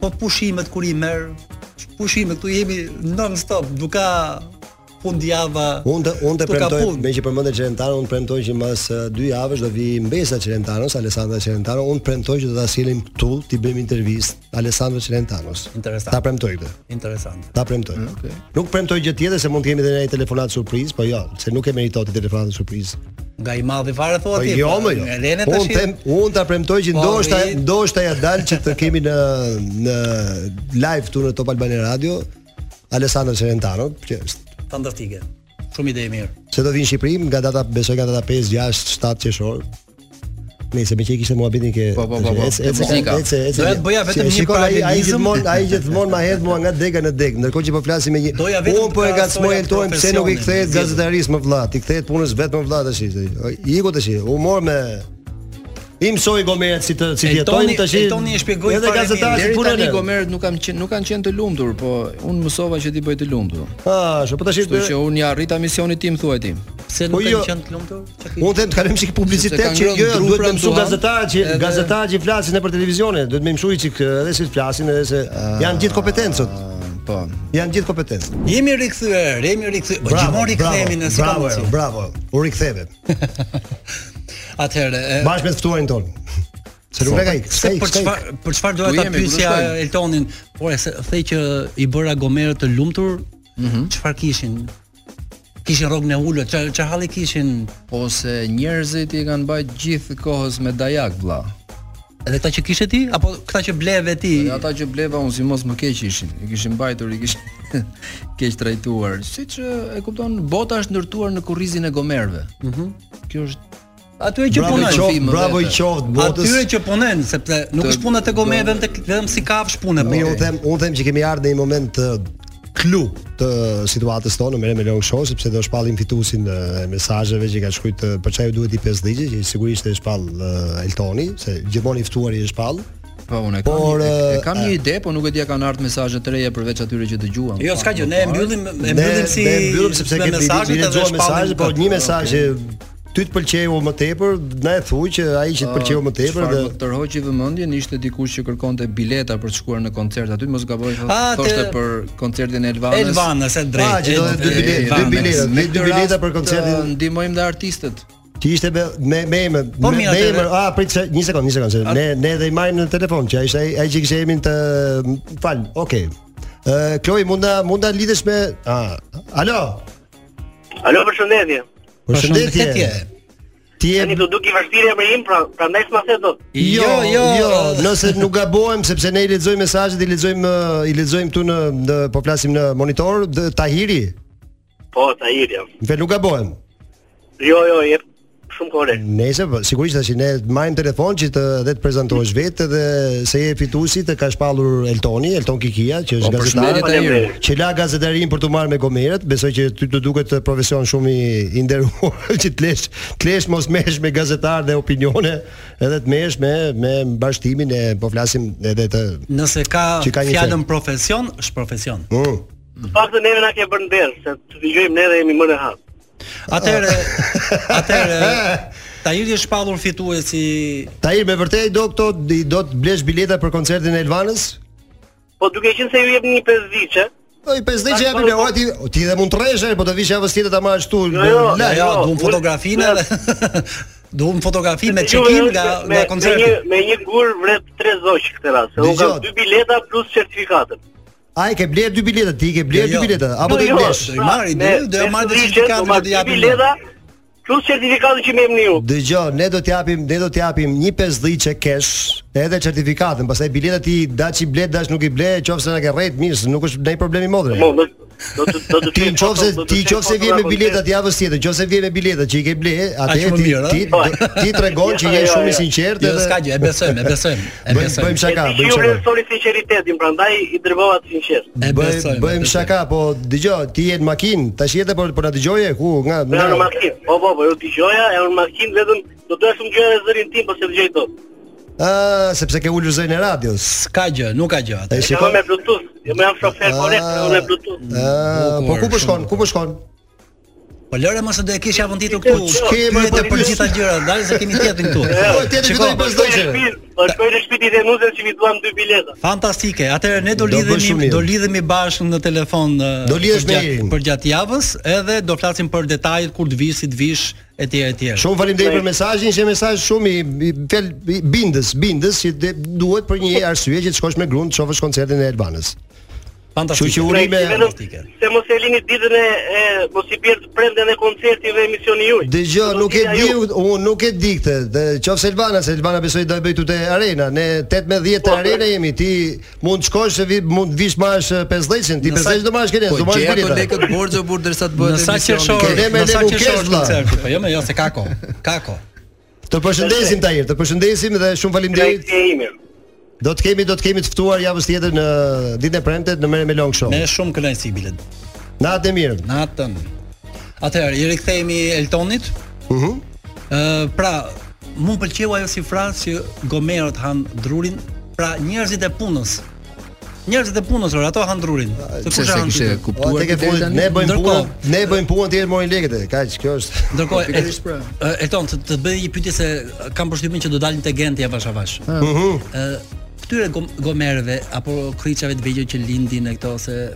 Speaker 7: po pushimet kur i merr, pushimet këtu jemi non stop, nuk ka fundjava.
Speaker 6: Unë të, unë të
Speaker 7: nuk ka
Speaker 6: premtoj,
Speaker 7: punë.
Speaker 6: me që përmëndet Qelentano, unë premtoj që mas eh, dy javësh do vi mbesa Qelentanos, Alessandra Qelentano, unë premtoj që do ta sjellim këtu, ti bëjmë intervistë Alessandra Qelentanos.
Speaker 7: Interesant. Mm,
Speaker 6: Ta premtoj këtë.
Speaker 7: Interesant.
Speaker 6: Ta premtoj.
Speaker 14: Okej.
Speaker 6: Nuk premtoj gjë tjetër se mund të kemi edhe një telefonat surprizë, po jo, se nuk e meriton të telefonat surprizë.
Speaker 7: Nga i madhi fare thua
Speaker 6: Po
Speaker 7: ti.
Speaker 6: jo,
Speaker 7: po,
Speaker 6: më jo.
Speaker 7: Elena tash.
Speaker 6: Unë them, unë ta premtoj që
Speaker 7: Po,
Speaker 6: ndoshta
Speaker 7: vi-
Speaker 6: ndoshta ja dal që të kemi në në live këtu në Top Albania Radio Alessandro Celentano, që është
Speaker 7: fantastike. Shumë ide e mirë.
Speaker 6: se do vinë në Shqipëri nga data besoj nga data 5, 6, 7 qershor. Nëse me që i kishte muhabitin ke
Speaker 14: Po, po, po, po,
Speaker 6: ece,
Speaker 14: e
Speaker 6: ece,
Speaker 14: muzika.
Speaker 6: ece, ece.
Speaker 7: Doja të bëja vetëm
Speaker 6: Se
Speaker 7: një
Speaker 6: shikon, ai- Ai
Speaker 7: paralelizëm.
Speaker 6: gjithmonë ai gjithmonë ma hedh mua nga dega në deg, ndërkohë që po flasim me një
Speaker 7: Doja vetëm
Speaker 6: Unë po
Speaker 7: të
Speaker 6: e gacmoj
Speaker 7: krahasoja
Speaker 6: eltojm pse nuk i
Speaker 7: profesionin,
Speaker 6: kthehet
Speaker 7: zgjedhjen.
Speaker 6: gazetarisë më vëlla, ti kthehet punës vetëm më vëlla tash. Iku tash, u mor me I mësoj gomerët si të si jetojnë tash. edhe gazetarët si
Speaker 14: Deri
Speaker 6: punën.
Speaker 14: tani
Speaker 6: e-
Speaker 14: gomerët nuk kanë qenë nuk kanë qenë të lumtur, po unë mësova që ti bëj të lumtur.
Speaker 6: Ah, shumë po tash.
Speaker 14: Kështu që unë ja arrita misionin tim thuaj ti.
Speaker 7: Pse
Speaker 6: Po nuk kanë jo. qenë
Speaker 7: të lumtur?
Speaker 6: Unë them të kalojmë çik publicitet që jo duhet të mësoj gazetarët që gazetarët që flasin në për televizione, duhet më mësoj çik edhe si flasin edhe se janë gjithë kompetencët.
Speaker 14: Po.
Speaker 6: Janë gjithë kompetencët.
Speaker 7: Jemi rikthyer, jemi rikthyer. Po gjithmonë rikthehemi në si ka
Speaker 6: bravo,
Speaker 7: mundësi.
Speaker 6: bravo. U riktheve.
Speaker 7: Atëherë, e-
Speaker 6: Bashkë me të ftuarin ton. (laughs) Se nuk e ka ikë.
Speaker 7: Se për çfarë për çfarë doja ta pyesja Eltonin, por e se the që i bëra gomerët të lumtur,
Speaker 6: Mhm.
Speaker 7: çfarë kishin? Kishin rrogën e ulët, çfarë çfarë halli kishin?
Speaker 14: Po, Ose njerëzit i kanë bajt gjithë kohës me dajak vlla.
Speaker 7: Edhe këta që kishe ti apo këta që bleve ti?
Speaker 14: Dhe ata që bleva unë si mos më keq ishin. I kishin mbajtur, i kishin (laughs) keq trajtuar. Siç ë, e kupton, bota është ndërtuar në kurrizin e gomerëve. Mhm. Kjo është
Speaker 7: Atyre që
Speaker 14: Bravo i
Speaker 7: punojnë.
Speaker 14: qoftë, bravo i qoftë botës.
Speaker 7: Atyre që punojnë, sepse nuk
Speaker 14: Të-
Speaker 7: është puna te gomeve, vetëm tek- vetëm si kafsh punë. po.
Speaker 6: Mirë, unë them, unë them që kemi ardhur në një moment të klu të situatës tonë me Melon Show sepse do shpallim fituesin e mesazheve që ka shkruajt për çfarë ju duhet i pesë ligje që sigurisht e shpall e, Eltoni se gjithmonë i ftuari e shpall
Speaker 14: Po unë e kam.
Speaker 6: Por,
Speaker 14: një, e, e kam
Speaker 6: e-
Speaker 14: një ide, po nuk e di a kanë ardhur mesazhe të reja përveç atyre që dëgjuam.
Speaker 7: Jo, s'ka gjë, ne e mbyllim, e
Speaker 6: Ne-
Speaker 7: mbyllim si
Speaker 6: ne e mbyllim sepse
Speaker 7: me
Speaker 6: ke mesazhe,
Speaker 7: mesazhet edhe shpallim
Speaker 6: mesazhe, po
Speaker 7: këtë.
Speaker 6: një mesazh që ty të pëlqeu më tepër, na e thuaj që ai
Speaker 7: Ah,
Speaker 6: që të pëlqeu më tepër
Speaker 14: Çfarë
Speaker 6: dhe
Speaker 14: më tërhoqi vëmendjen ishte dikush që kërkonte bileta për të shkuar në koncert aty, mos gaboj, po,
Speaker 6: Ah,
Speaker 14: thoshte
Speaker 6: te-
Speaker 14: për koncertin e Elvanës.
Speaker 7: Elvanës, e drejtë.
Speaker 6: Ah, që do të dy
Speaker 14: E,
Speaker 6: bileta, dy
Speaker 14: Elvanës.
Speaker 6: bileta,
Speaker 14: Me
Speaker 6: dy
Speaker 14: këtë
Speaker 6: bileta
Speaker 14: rast,
Speaker 6: për koncertin.
Speaker 14: ë, Ndihmojmë dhe artistët.
Speaker 6: Që ishte me me me emër,
Speaker 14: Po,
Speaker 6: me,
Speaker 14: mirë,
Speaker 6: me
Speaker 14: atëherë-
Speaker 6: emër. Ah, prit se- një sekond, një sekond. se
Speaker 14: At-
Speaker 6: Ne ne dhe i marrim në telefon që ai ishte ai- ai që kishte emrin të fal. Okej. Ë Kloj munda munda lidhesh me ah, alo.
Speaker 8: Alo, përshëndetje.
Speaker 6: Përshëndetje. Ti je
Speaker 8: Tani do duki vështirë emri im, pra prandaj s'ma the dot.
Speaker 6: Jo, jo, jo, nëse nuk gabohem sepse ne i lexojmë mesazhet, i lexojmë ë, i lexojmë këtu në, në po flasim në monitor, dhe Tahiri.
Speaker 8: Po, Tahir jam.
Speaker 6: Në fakt nuk gabohem.
Speaker 8: Jo, jo, jep shumë korrekt.
Speaker 6: Nëse po, sigurisht tash ne marrim telefon që të dhe të prezantohesh vetë dhe se je fituesi të ka shpallur Eltoni, Elton Kikia, që është
Speaker 14: Po,
Speaker 6: gazetar,
Speaker 14: përshëndetje, Tahir.
Speaker 6: që la gazetarin për të marrë me gomerët, besoj që ty të duket profesion shumë i, i nderuar (laughs) që të lesh, të lesh mos mesh me gazetar dhe opinione, edhe të mesh me me bashkëtimin e po flasim edhe të
Speaker 7: Nëse ka,
Speaker 6: Që ka një
Speaker 7: fjalën profesion, është profesion.
Speaker 6: Mm.
Speaker 8: Në fakt se neve na ke bërë nder, se të dëgjojmë ne dhe jemi më në hap.
Speaker 6: (laughs)
Speaker 7: Atëre, atëre Tahiri është shpallur fituesi.
Speaker 6: Tahir me vërtet do këto i do të blesh bileta për koncertin e Elvanës?
Speaker 8: Po duke qenë se ju jep një 5 ditë.
Speaker 6: Po i 5 ditë japin e ora ti ti dhe mund të rresh, e, po të vish javës tjetër ta marrësh këtu.
Speaker 8: Jo, jo,
Speaker 6: live.
Speaker 8: jo,
Speaker 7: duam
Speaker 8: unë-
Speaker 7: fotografinë edhe (laughs) duam fotografi me check-in nga nga koncerti.
Speaker 8: Me një me një gur vret 3 zoq këtë rast. se Unë kam
Speaker 6: Dëgjoj.
Speaker 8: dy bileta plus certifikatën.
Speaker 6: Ai ke bler dy bileta, ti ke bler
Speaker 8: Jo,
Speaker 6: dy
Speaker 8: jo.
Speaker 6: bileta, apo
Speaker 8: Jo,
Speaker 6: do i
Speaker 8: jo,
Speaker 6: blesh?
Speaker 8: pra, me- me sëriqe, do marr dy bileta plus certifikatën që më jepni ju.
Speaker 6: Dëgjoj, ne do t'japim, ne do t'japim një 50 që kesh, edhe certifikatën, pastaj biletat ti daç i ble, daç nuk i ble, qofse na ke rrejt mirë, se nuk është ndaj problem i modre.
Speaker 8: Mo, do do të do të
Speaker 6: Ti qofse
Speaker 8: foto- do të
Speaker 6: ti
Speaker 8: shkoj
Speaker 6: qofse
Speaker 8: foto
Speaker 6: vjen
Speaker 8: nga
Speaker 6: me
Speaker 8: koncert.
Speaker 6: biletat javës tjetër, qofse vjen me biletat që i ke ble, atë
Speaker 7: Aq më
Speaker 6: ti
Speaker 7: mirë, a?
Speaker 6: ti ti tregon
Speaker 8: Jo,
Speaker 6: që je shumë i sinqert
Speaker 7: Jo, s'ka gjë, e besojmë, e besojmë, e
Speaker 6: Bëjmë-
Speaker 7: besojmë.
Speaker 6: bëjmë shaka,
Speaker 8: E di që
Speaker 6: bëjmë
Speaker 8: ju
Speaker 6: shaka.
Speaker 8: vlerësoni sinqeritetin, prandaj i dërgova të sinqert.
Speaker 6: Bëjmë bëjmë shaka, po dëgjoj, ti je në makinë, tash jete po po na dëgjoje ku nga jo.
Speaker 8: Në në makinë. Po po, po ju dëgjoja, e në makinë vetëm do doja shumë gjëra e zërin tim, po se dëgjoj dot.
Speaker 6: Ë, sepse ke ulur zërin e radios.
Speaker 7: S'ka gjë, nuk ka gjë
Speaker 6: atë. E
Speaker 8: Jam
Speaker 6: shikoj. Ah.
Speaker 8: me Bluetooth, jam jam shofer korrekt, unë me Bluetooth.
Speaker 6: Ë, po ku po shkon? Ku po shkon?
Speaker 7: Po lore mos e do e kish javën tjetër këtu.
Speaker 6: Po, ç'ke,
Speaker 7: Pyete
Speaker 6: po,
Speaker 7: për
Speaker 6: pyes.
Speaker 7: gjitha gjërat, dalë se kemi tjetrin
Speaker 6: (laughs)
Speaker 7: këtu.
Speaker 6: Po, tjetri
Speaker 7: Shiko,
Speaker 6: fitoi pas dojë.
Speaker 8: Po shkoj në shtëpi e nuzës që mi duam dy bileta.
Speaker 7: Fantastike. Atëherë ne do
Speaker 6: Do bësh shumë
Speaker 7: lidhemi
Speaker 6: mirë.
Speaker 7: do lidhemi bashkë në telefon
Speaker 6: Do lidhesh me Erin.
Speaker 7: për gjatë javës edhe do flasim për detajet kur të vish, si të vish etj etj.
Speaker 6: Shumë faleminderit për mesazhin, që mesazh shumë i, i, fel- i bindës, bindës që de, duhet për një arsye që të shkosh me gruan të shohësh koncertin e Elbanës. Kështu që
Speaker 8: Pra,
Speaker 6: urime
Speaker 8: Fantastike. Se mos e lini ditën e e, mos i bjerë të prenden e koncertin dhe emisioni juaj.
Speaker 6: Dëgjoj,
Speaker 8: Do
Speaker 6: nuk e
Speaker 8: t'ja
Speaker 6: di,
Speaker 8: ju.
Speaker 6: unë nuk e di këtë. Dhe qofse Elbana, se Elbana besoj do e bëj këtu te arena. Ne 8 me 10 te arena jemi. Ti mund të shkosh, se vi- mund të vish marrësh 50-shin, ti
Speaker 14: Në sa-
Speaker 6: 50 do marrësh kënaqë,
Speaker 14: Po
Speaker 6: do marrësh
Speaker 14: gjeja ato
Speaker 6: bileta.
Speaker 14: lekët borxhe burr derisa të bëhet
Speaker 7: Në sa
Speaker 14: Po emisioni.
Speaker 7: qershor,
Speaker 14: Ke ne me
Speaker 7: në sa
Speaker 14: leku
Speaker 7: qershor
Speaker 14: kesh, vlla.
Speaker 7: koncerti, po jo më jo se ka kohë. Ka kohë.
Speaker 6: Të përshëndesim Tahir, të përshëndesim dhe shumë faleminderit. Do të kemi do të kemi të ftuar javën tjetër në ditën e premte në Merë me Long Show.
Speaker 7: Me shumë kënaqësi bilet.
Speaker 6: Natë e mirë.
Speaker 7: Natën. Atëherë i rikthehemi Eltonit.
Speaker 6: Mhm.
Speaker 7: Ë pra, mu më pëlqeu ajo si frazë që gomerët han drurin, pra njerëzit e punës. Njerëzit e punës, or, ato han drurin. Se
Speaker 14: pse
Speaker 7: kush e
Speaker 14: se
Speaker 7: han
Speaker 14: kishe
Speaker 7: drurin?
Speaker 14: kuptuar
Speaker 6: Tek e fundit ne bëjmë
Speaker 7: Ndërkohë-
Speaker 6: punën, ne bëjmë punën tjetër morin lekët, e, kaq, kjo është.
Speaker 7: Ndërkohë,
Speaker 14: Po, pikërisht pra.
Speaker 7: e- e- Elton, të, të bëj një pyetje se e, kam përshtypjen që do dalim te Genti avash avash.
Speaker 6: Mhm.
Speaker 7: Ë, këtyre gom- gomerëve apo kriçave të vegjël që lindin e këto se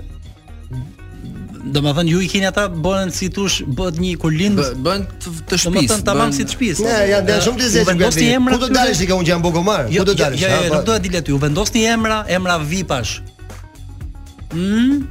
Speaker 7: Domethënë ju i keni ata bëhen si tush bëhet një kur lind
Speaker 14: bën të shtëpisë,
Speaker 7: Domethënë tamam
Speaker 14: bën-
Speaker 7: si të shtëpisë.
Speaker 6: Ne janë janë shumë të zgjedhur. Ku do dalësh ti ka unë që jam Bogomar?
Speaker 7: Jo,
Speaker 6: Ku do dalësh?
Speaker 7: Jo,
Speaker 6: ha,
Speaker 7: jo,
Speaker 6: po?
Speaker 7: nuk do të dilet ju. Vendosni emra, emra vipash. Mm.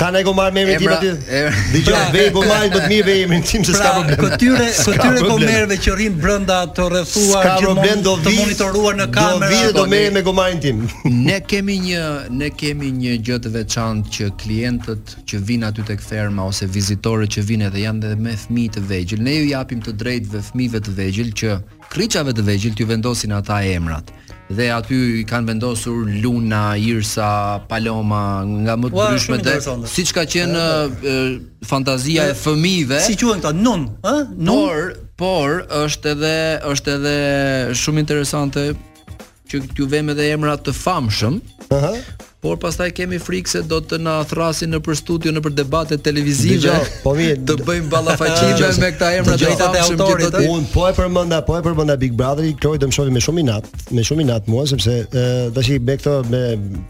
Speaker 6: Ka ne Gomar me emrin tim
Speaker 7: Emra-
Speaker 6: aty.
Speaker 7: em-
Speaker 6: Dgjoj,
Speaker 7: Pra-
Speaker 6: vej Gomarin do të mirë vej emrin tim se (laughs) s'ka
Speaker 7: Pra,
Speaker 6: problem.
Speaker 7: këtyre
Speaker 6: S'ka
Speaker 7: këtyre
Speaker 6: problem.
Speaker 7: komerëve që rrin brenda të rrethuar
Speaker 6: S'ka problem, do
Speaker 7: të
Speaker 6: vi-
Speaker 7: monitoruar në
Speaker 6: do
Speaker 7: kamerë.
Speaker 6: vi dhe do
Speaker 7: apo-
Speaker 6: merrem me gomarin tim.
Speaker 14: Ne kemi një ne kemi një gjë të veçantë që klientët që vinë aty tek ferma ose vizitorët që vinë edhe janë edhe me fëmijë të vegjël, ne ju japim të drejtëve fëmijëve të vegjël që kriçave të vegjël t'ju vendosin ata emrat. Dhe aty i kanë vendosur Luna, Irsa, Paloma, nga më të
Speaker 7: Ua,
Speaker 14: ndryshmet
Speaker 7: shumë
Speaker 14: dhe
Speaker 7: interesante.
Speaker 14: siç ka qenë ë, fantazia e fëmijëve.
Speaker 7: Si quhen këta? Nun, ë? Nun.
Speaker 14: Por, por është edhe është edhe shumë interesante që që t'ju vëmë edhe emra të famshëm.
Speaker 6: Ëh.
Speaker 14: Por pastaj kemi frikë se do të na thrasin në për studio në për debate televizive.
Speaker 6: Dgjoj, po mirë,
Speaker 14: të bëjmë ballafaqime
Speaker 6: Dgjoj,
Speaker 14: me këta emra të
Speaker 6: dgjoj,
Speaker 14: famshëm që do të
Speaker 6: Un po e përmenda, po e përmenda Big Brother, Kloj do më shohim me shumë inat, me shumë inat mua sepse ë, tash i bë këto me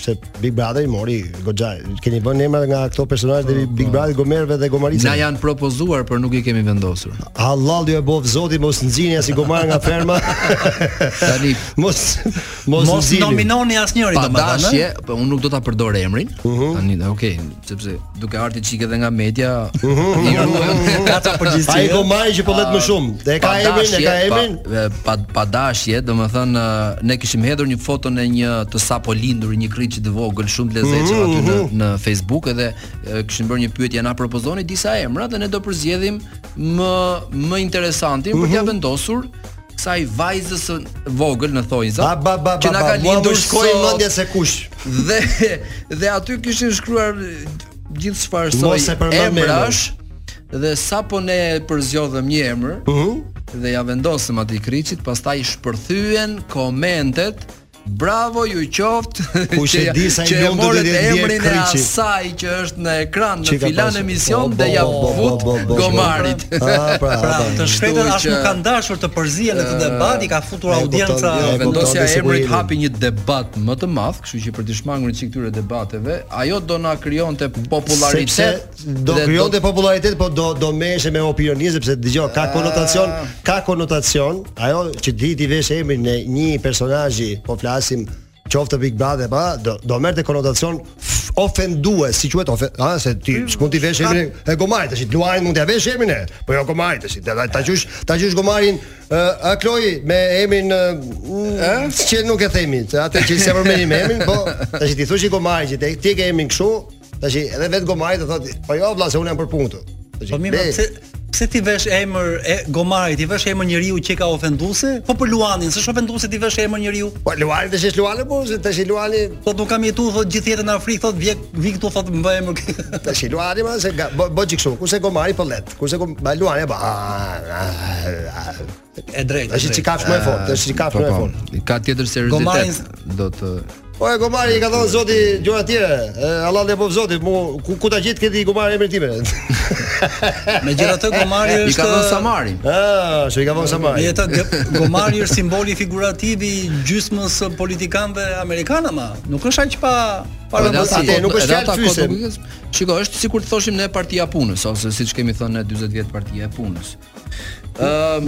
Speaker 6: se Big Brother i mori goxha. Keni vënë emra nga këto personazhe
Speaker 7: Po,
Speaker 6: të Big Brother, gomerëve dhe gomarica.
Speaker 14: Na janë propozuar, por nuk i kemi vendosur.
Speaker 6: Allah ju e bov zoti mos nxjini as i gomar nga ferma.
Speaker 14: Tani
Speaker 6: mos mos,
Speaker 14: Mos
Speaker 6: nxjini.
Speaker 14: nominoni
Speaker 6: asnjërin
Speaker 14: Pa dashje, po unë nuk do ta përdor emrin.
Speaker 6: Mhm.
Speaker 14: Tani, okay, sepse duke ardhi çik edhe nga media,
Speaker 6: Mhm.
Speaker 14: (laughs) i ruhem
Speaker 6: Ka ca përgjegjësi, Ai gomari që po llet më shumë. E ka
Speaker 14: Pa
Speaker 6: emrin, e
Speaker 14: dashje,
Speaker 6: ka emrin?
Speaker 14: Pa, e, pa, pa dashje, domethënë ë, ne kishim hedhur një foto në një të sapo lindur, një kriçi të vogël, shumë të lezetshëm aty në
Speaker 6: Mhm.
Speaker 14: në Facebook edhe e, kishim bërë një pyetje na propozoni disa emra dhe ne do përzgjedhim më më interesantin për
Speaker 6: Mhm.
Speaker 14: t'ia vendosur kësaj vajzës së vogël në thonjza.
Speaker 6: Ba ba ba
Speaker 14: që
Speaker 6: ba.
Speaker 14: na ka
Speaker 6: mua
Speaker 14: lindur
Speaker 6: më shkoi
Speaker 14: sot.
Speaker 6: mendja se kush.
Speaker 14: Dhe dhe aty kishin shkruar gjithë çfarë soi
Speaker 6: Mos e përmend me
Speaker 14: emrash dhe sapo ne përzgjodhëm një emër dhe ja vendosëm aty kriçit, pastaj shpërthyen komentet Bravo ju qoftë
Speaker 6: (laughs) Kush e
Speaker 14: që-
Speaker 6: di sa i
Speaker 14: që e
Speaker 6: lumtur
Speaker 14: morët
Speaker 6: do të jetë
Speaker 14: emrin e
Speaker 6: Kriçi.
Speaker 14: asaj që është në ekran në
Speaker 6: Çi ka
Speaker 14: filan
Speaker 6: pasur?
Speaker 14: emision
Speaker 6: Po,
Speaker 14: dhe
Speaker 6: po,
Speaker 14: ja
Speaker 6: po, po, po,
Speaker 14: fut
Speaker 6: po, po.
Speaker 14: gomarit. (laughs)
Speaker 6: Ah, pra,
Speaker 12: Pra,
Speaker 6: pra.
Speaker 12: të shpejtën as
Speaker 14: që-
Speaker 12: nuk kanë dashur të përzihen në këtë debat, i ka futur
Speaker 14: E,
Speaker 12: audienca.
Speaker 14: kupton, jo, Vendosja e
Speaker 6: po
Speaker 14: emrit
Speaker 12: hap.
Speaker 14: hapi një debat më të madh, kështu që për të shmangur çik këtyre debateve, ajo do na krijonte popularitet
Speaker 6: Sepse do krijonte popularitet, po do do meheshe me opinionin sepse dëgjoj ka konotacion, ka konotacion, ajo që ti ti vesh emrin në një personazhi, po flasim qoftë Big Brother pa, do, do merrte konotacion f- ofendues, si quhet ofen, a se ti s'mund ti vesh emrin e gomarit, tash luajin mund t'ia vesh emrin e, po jo gomarit tash, ta ta qysh, ta qysh gomarin uh, a Kloi me emrin ë që nuk e themi, se atë që se përmendim emrin, po tash ti thush i gomarit që te- ti e ke emrin kështu, tash edhe vet gomarit të thotë, po jo vlla se unë jam për punë këtu. Tash,
Speaker 12: Po mirë,
Speaker 6: be-
Speaker 12: pse pse ti vesh emër e gomarit, i vesh emër njeriu që ka ofenduese? Po për Luanin, s'është ofenduese ti vesh emër njeriu?
Speaker 6: Po Luani tash është Luani, po se tash Luani,
Speaker 12: po nuk kam jetuar thotë gjithë jetën në Afrikë, thotë vjen vi këtu thotë më bëj emër.
Speaker 6: Tash i luani ma se ga- bo- bëj kështu, kurse gomari po let, kurse gom- ba luani e ba.
Speaker 12: E drejtë.
Speaker 6: Tash çikafsh më e fortë, tash çikafsh më e fortë.
Speaker 14: Po, Ka tjetër
Speaker 6: Gomarin-
Speaker 14: seriozitet. Do të
Speaker 6: Po e Gomari i ka thonë Zoti gjëra të tjera. E, Allah dhe po Zoti, mu ku, ku ta gjet këtë i Gomari emrin tim. (laughs)
Speaker 12: Megjithatë Gomari është
Speaker 6: Ah, që i ka vënë Samari.
Speaker 12: Megjithatë Gomari është simboli figurativ i gjysmës së politikanëve amerikanë ama nuk është aq pa pa
Speaker 14: Edhe
Speaker 12: rëndësi.
Speaker 14: ata- edhe ata kodobikës- Shiko, është sikur të thoshim ne partia e punës ose siç kemi thënë ne 40 vjet partia e punës.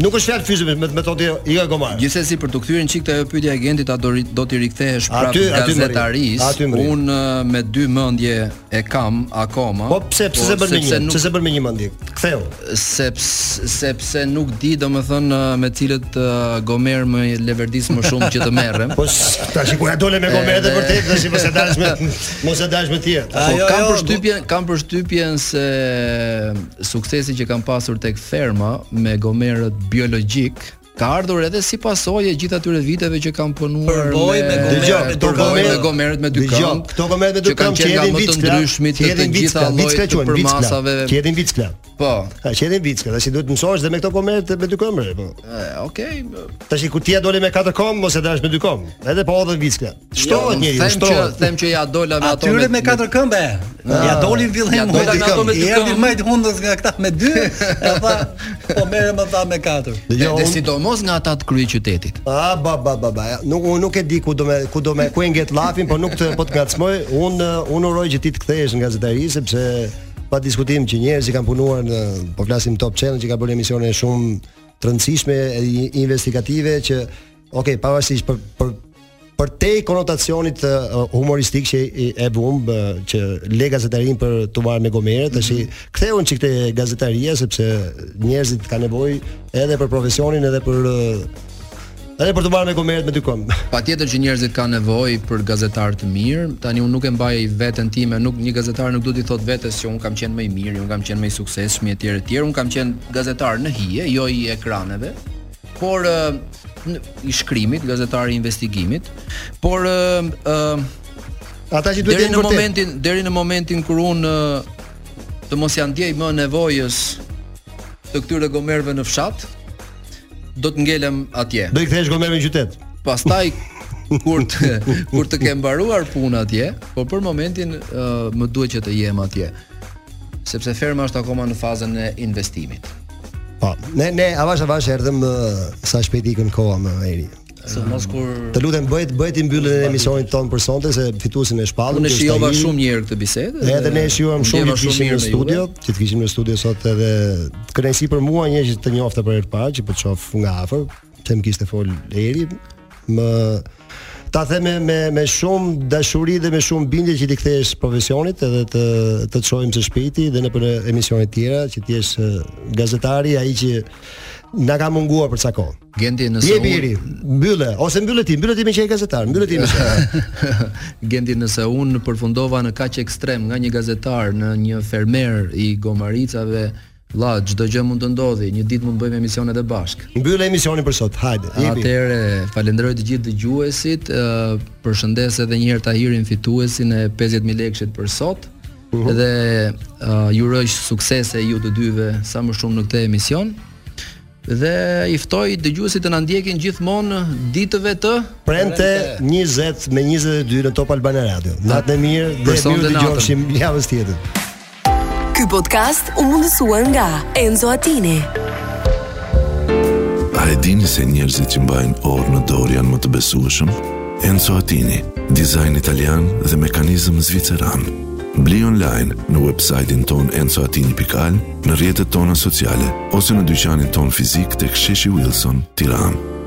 Speaker 6: nuk është fjalë fyzike me me thotë i ka gomar.
Speaker 14: Gjithsesi për të kthyer në çik të ajo pyetja e agentit, a do ri- do t'i rikthehesh prapë
Speaker 6: Aty- aty më ri.
Speaker 14: gazetarisë?
Speaker 6: Aty më ri.
Speaker 14: Unë ë, me dy mendje e kam akoma.
Speaker 6: Po pse pse
Speaker 14: por
Speaker 6: se bën me një?
Speaker 14: sepse nuk-
Speaker 6: Pse se bën me një mendje? Ktheu.
Speaker 14: sepse sepse nuk di domethënë ë, me cilët ë, Gomer më leverdis më shumë që të
Speaker 6: (laughs)
Speaker 14: merrem.
Speaker 6: Po s- tash kur ja dole me Gomer të
Speaker 14: Edhe-
Speaker 6: vërtet, tash mos e dash me mos e dash me tjetër.
Speaker 14: Po kam përshtypjen, kam përshtypjen se suksesi që kanë pasur tek ferma me gomerët biologjik ka ardhur edhe si pasojë e gjithë atyre viteve që kanë punuar
Speaker 12: Përvojë me gomerët
Speaker 6: Dëgjoj,
Speaker 14: me
Speaker 6: këto
Speaker 14: përvojë me
Speaker 6: gomerët-
Speaker 14: gomerët me dy
Speaker 6: dëgjoj,
Speaker 14: këmbë.
Speaker 6: Këto gomerët me dy këmbë që
Speaker 14: kanë qenë
Speaker 6: hedhin
Speaker 14: nga më të
Speaker 6: vickla,
Speaker 14: ndryshmit
Speaker 6: që
Speaker 14: të të
Speaker 6: hedhin
Speaker 14: gjitha
Speaker 6: vickla, vickla
Speaker 14: llojet të
Speaker 6: quhen, vickla,
Speaker 14: përmasave.
Speaker 6: Që hedhin vickla.
Speaker 14: Po.
Speaker 6: Ka që hedhin vickla, tash i duhet të mësohesh dhe me këto gomerët me dy këmbë, po.
Speaker 14: Okej.
Speaker 6: Tash i kutia dole me katër kom, mos e dash me dy kom. Edhe po hodhën vickla. Shtohet
Speaker 14: Jo, unë
Speaker 6: njeriu,
Speaker 14: them që
Speaker 6: shtohet.
Speaker 14: them që ja dola me ato.
Speaker 12: Atyre me katër këmbë. Ja
Speaker 6: Ah.
Speaker 12: dolin
Speaker 14: Ja
Speaker 12: villim.
Speaker 14: dola me ato me dy
Speaker 12: I erdhi
Speaker 14: këmbë.
Speaker 12: më të hundës nga këta me dy, e tha, po merrem ata me katër.
Speaker 14: Dhe, dhe sidomos nga ata të krye qytetit.
Speaker 6: A ba ba ba ba. ja. Nuk unë nuk e di ku do me ku do me ku e ngjet llafin, po nuk të po të ngacmoj. Unë unë uroj që ti të kthehesh në gazetari sepse pa diskutim që njerëz që kanë punuar në po flasim Top Channel që ka bërë emisione shumë të rëndësishme e i- investigative që ok, pavarësisht për për për te i konotacionit uh, humoristik që i- e vumb uh, që le gazetarin për të marrë me gomere, tash mm -hmm. ktheun çik te gazetaria sepse njerëzit kanë nevojë edhe për profesionin edhe për uh, Edhe për të marrë me gomerët me dy këmbë.
Speaker 14: Patjetër që njerëzit kanë nevojë për gazetar të mirë. Tani unë nuk e mbaj veten time, nuk një gazetar nuk duhet i thotë vetes që unë kam qenë më i mirë, unë kam qenë më i suksesshëm etj etj. Unë kam qenë gazetar në hije, jo i ekraneve, por ë, në- i shkrimit, gazetar i investigimit, por ë, ë,
Speaker 6: (laughs) Ata që duhet të
Speaker 14: deri
Speaker 6: jenë
Speaker 14: në
Speaker 6: vërtet.
Speaker 14: momentin deri në momentin kur unë ë, të mos ja ndjej më nevojës të këtyre gomerëve në fshat, do të ngelem atje.
Speaker 6: Do i kthesh gomerën në qytet.
Speaker 14: Pastaj kur të kur të ke mbaruar punën atje, por për momentin uh, më duhet që të jem atje. Sepse ferma është akoma në fazën e investimit.
Speaker 6: Po, ne ne avash avash erdhëm ë, sa shpejt ikën koha më eri.
Speaker 14: Se mos kur
Speaker 6: Të lutem bëhet bëhet i mbyllën e emisionit ton për sonte se fituesin e shpallën.
Speaker 14: unë e
Speaker 6: ky është
Speaker 14: shijova
Speaker 6: ai.
Speaker 14: shumë herë këtë bisedë. dhe
Speaker 6: Edhe ne e shijuam shumë
Speaker 14: ndjeva
Speaker 6: që të kishim
Speaker 14: mirë
Speaker 6: në
Speaker 14: me
Speaker 6: studio,
Speaker 14: juve.
Speaker 6: që të kishim në studio sot edhe të kënaqësi për mua një që të njofta për herë të parë, që po të shoh nga afër, se më kishte fol Eri, më ta them me me, me shumë dashuri dhe me shumë bindje që ti kthehesh profesionit edhe të të të shohim së shpejti dhe në për emisione të tjera që ti jesh eh, gazetari ai që na ka munguar për sa kohë.
Speaker 14: Gendi nëse
Speaker 6: Jepi Eri, mbylle ose mbylle ti, mbylle ti me që je gazetar, mbylle ti me që.
Speaker 14: (laughs) Gendi nëse unë përfundova në kaq ekstrem nga një gazetar në një fermer i gomaricave, vlla, çdo gjë mund të ndodhi, një ditë mund të bëjmë emisionet e bashkë.
Speaker 6: Mbylle emisionin për sot. Hajde, jepi.
Speaker 14: Atëherë, falenderoj të gjithë dëgjuesit, ë, përshëndes edhe një herë Tahirin fituesin e 50000 lekësh për sot. Dhe ë, ju uroj suksese ju të dyve sa më shumë në këtë emision. Dhe i ftoj dëgjuesit të na ndjekin gjithmonë ditëve të
Speaker 6: Premte 20 me 22 në Top Albana Radio. Natën e mirë
Speaker 14: Për
Speaker 6: dhe
Speaker 14: sonte
Speaker 6: mirë
Speaker 14: natën.
Speaker 6: dëgjofshim javës tjetër.
Speaker 1: Ky podcast u mundësua nga Enzo Attini.
Speaker 2: A e dini se njerëzit që mbajnë orë në dorë janë më të besueshëm? Enzo Attini, dizajn italian dhe mekanizëm zviceran. Bli online në website-in ton enzoatini.al, në rjetët tona sociale, ose në dyqanin ton fizik të ksheshi Wilson, tiranë.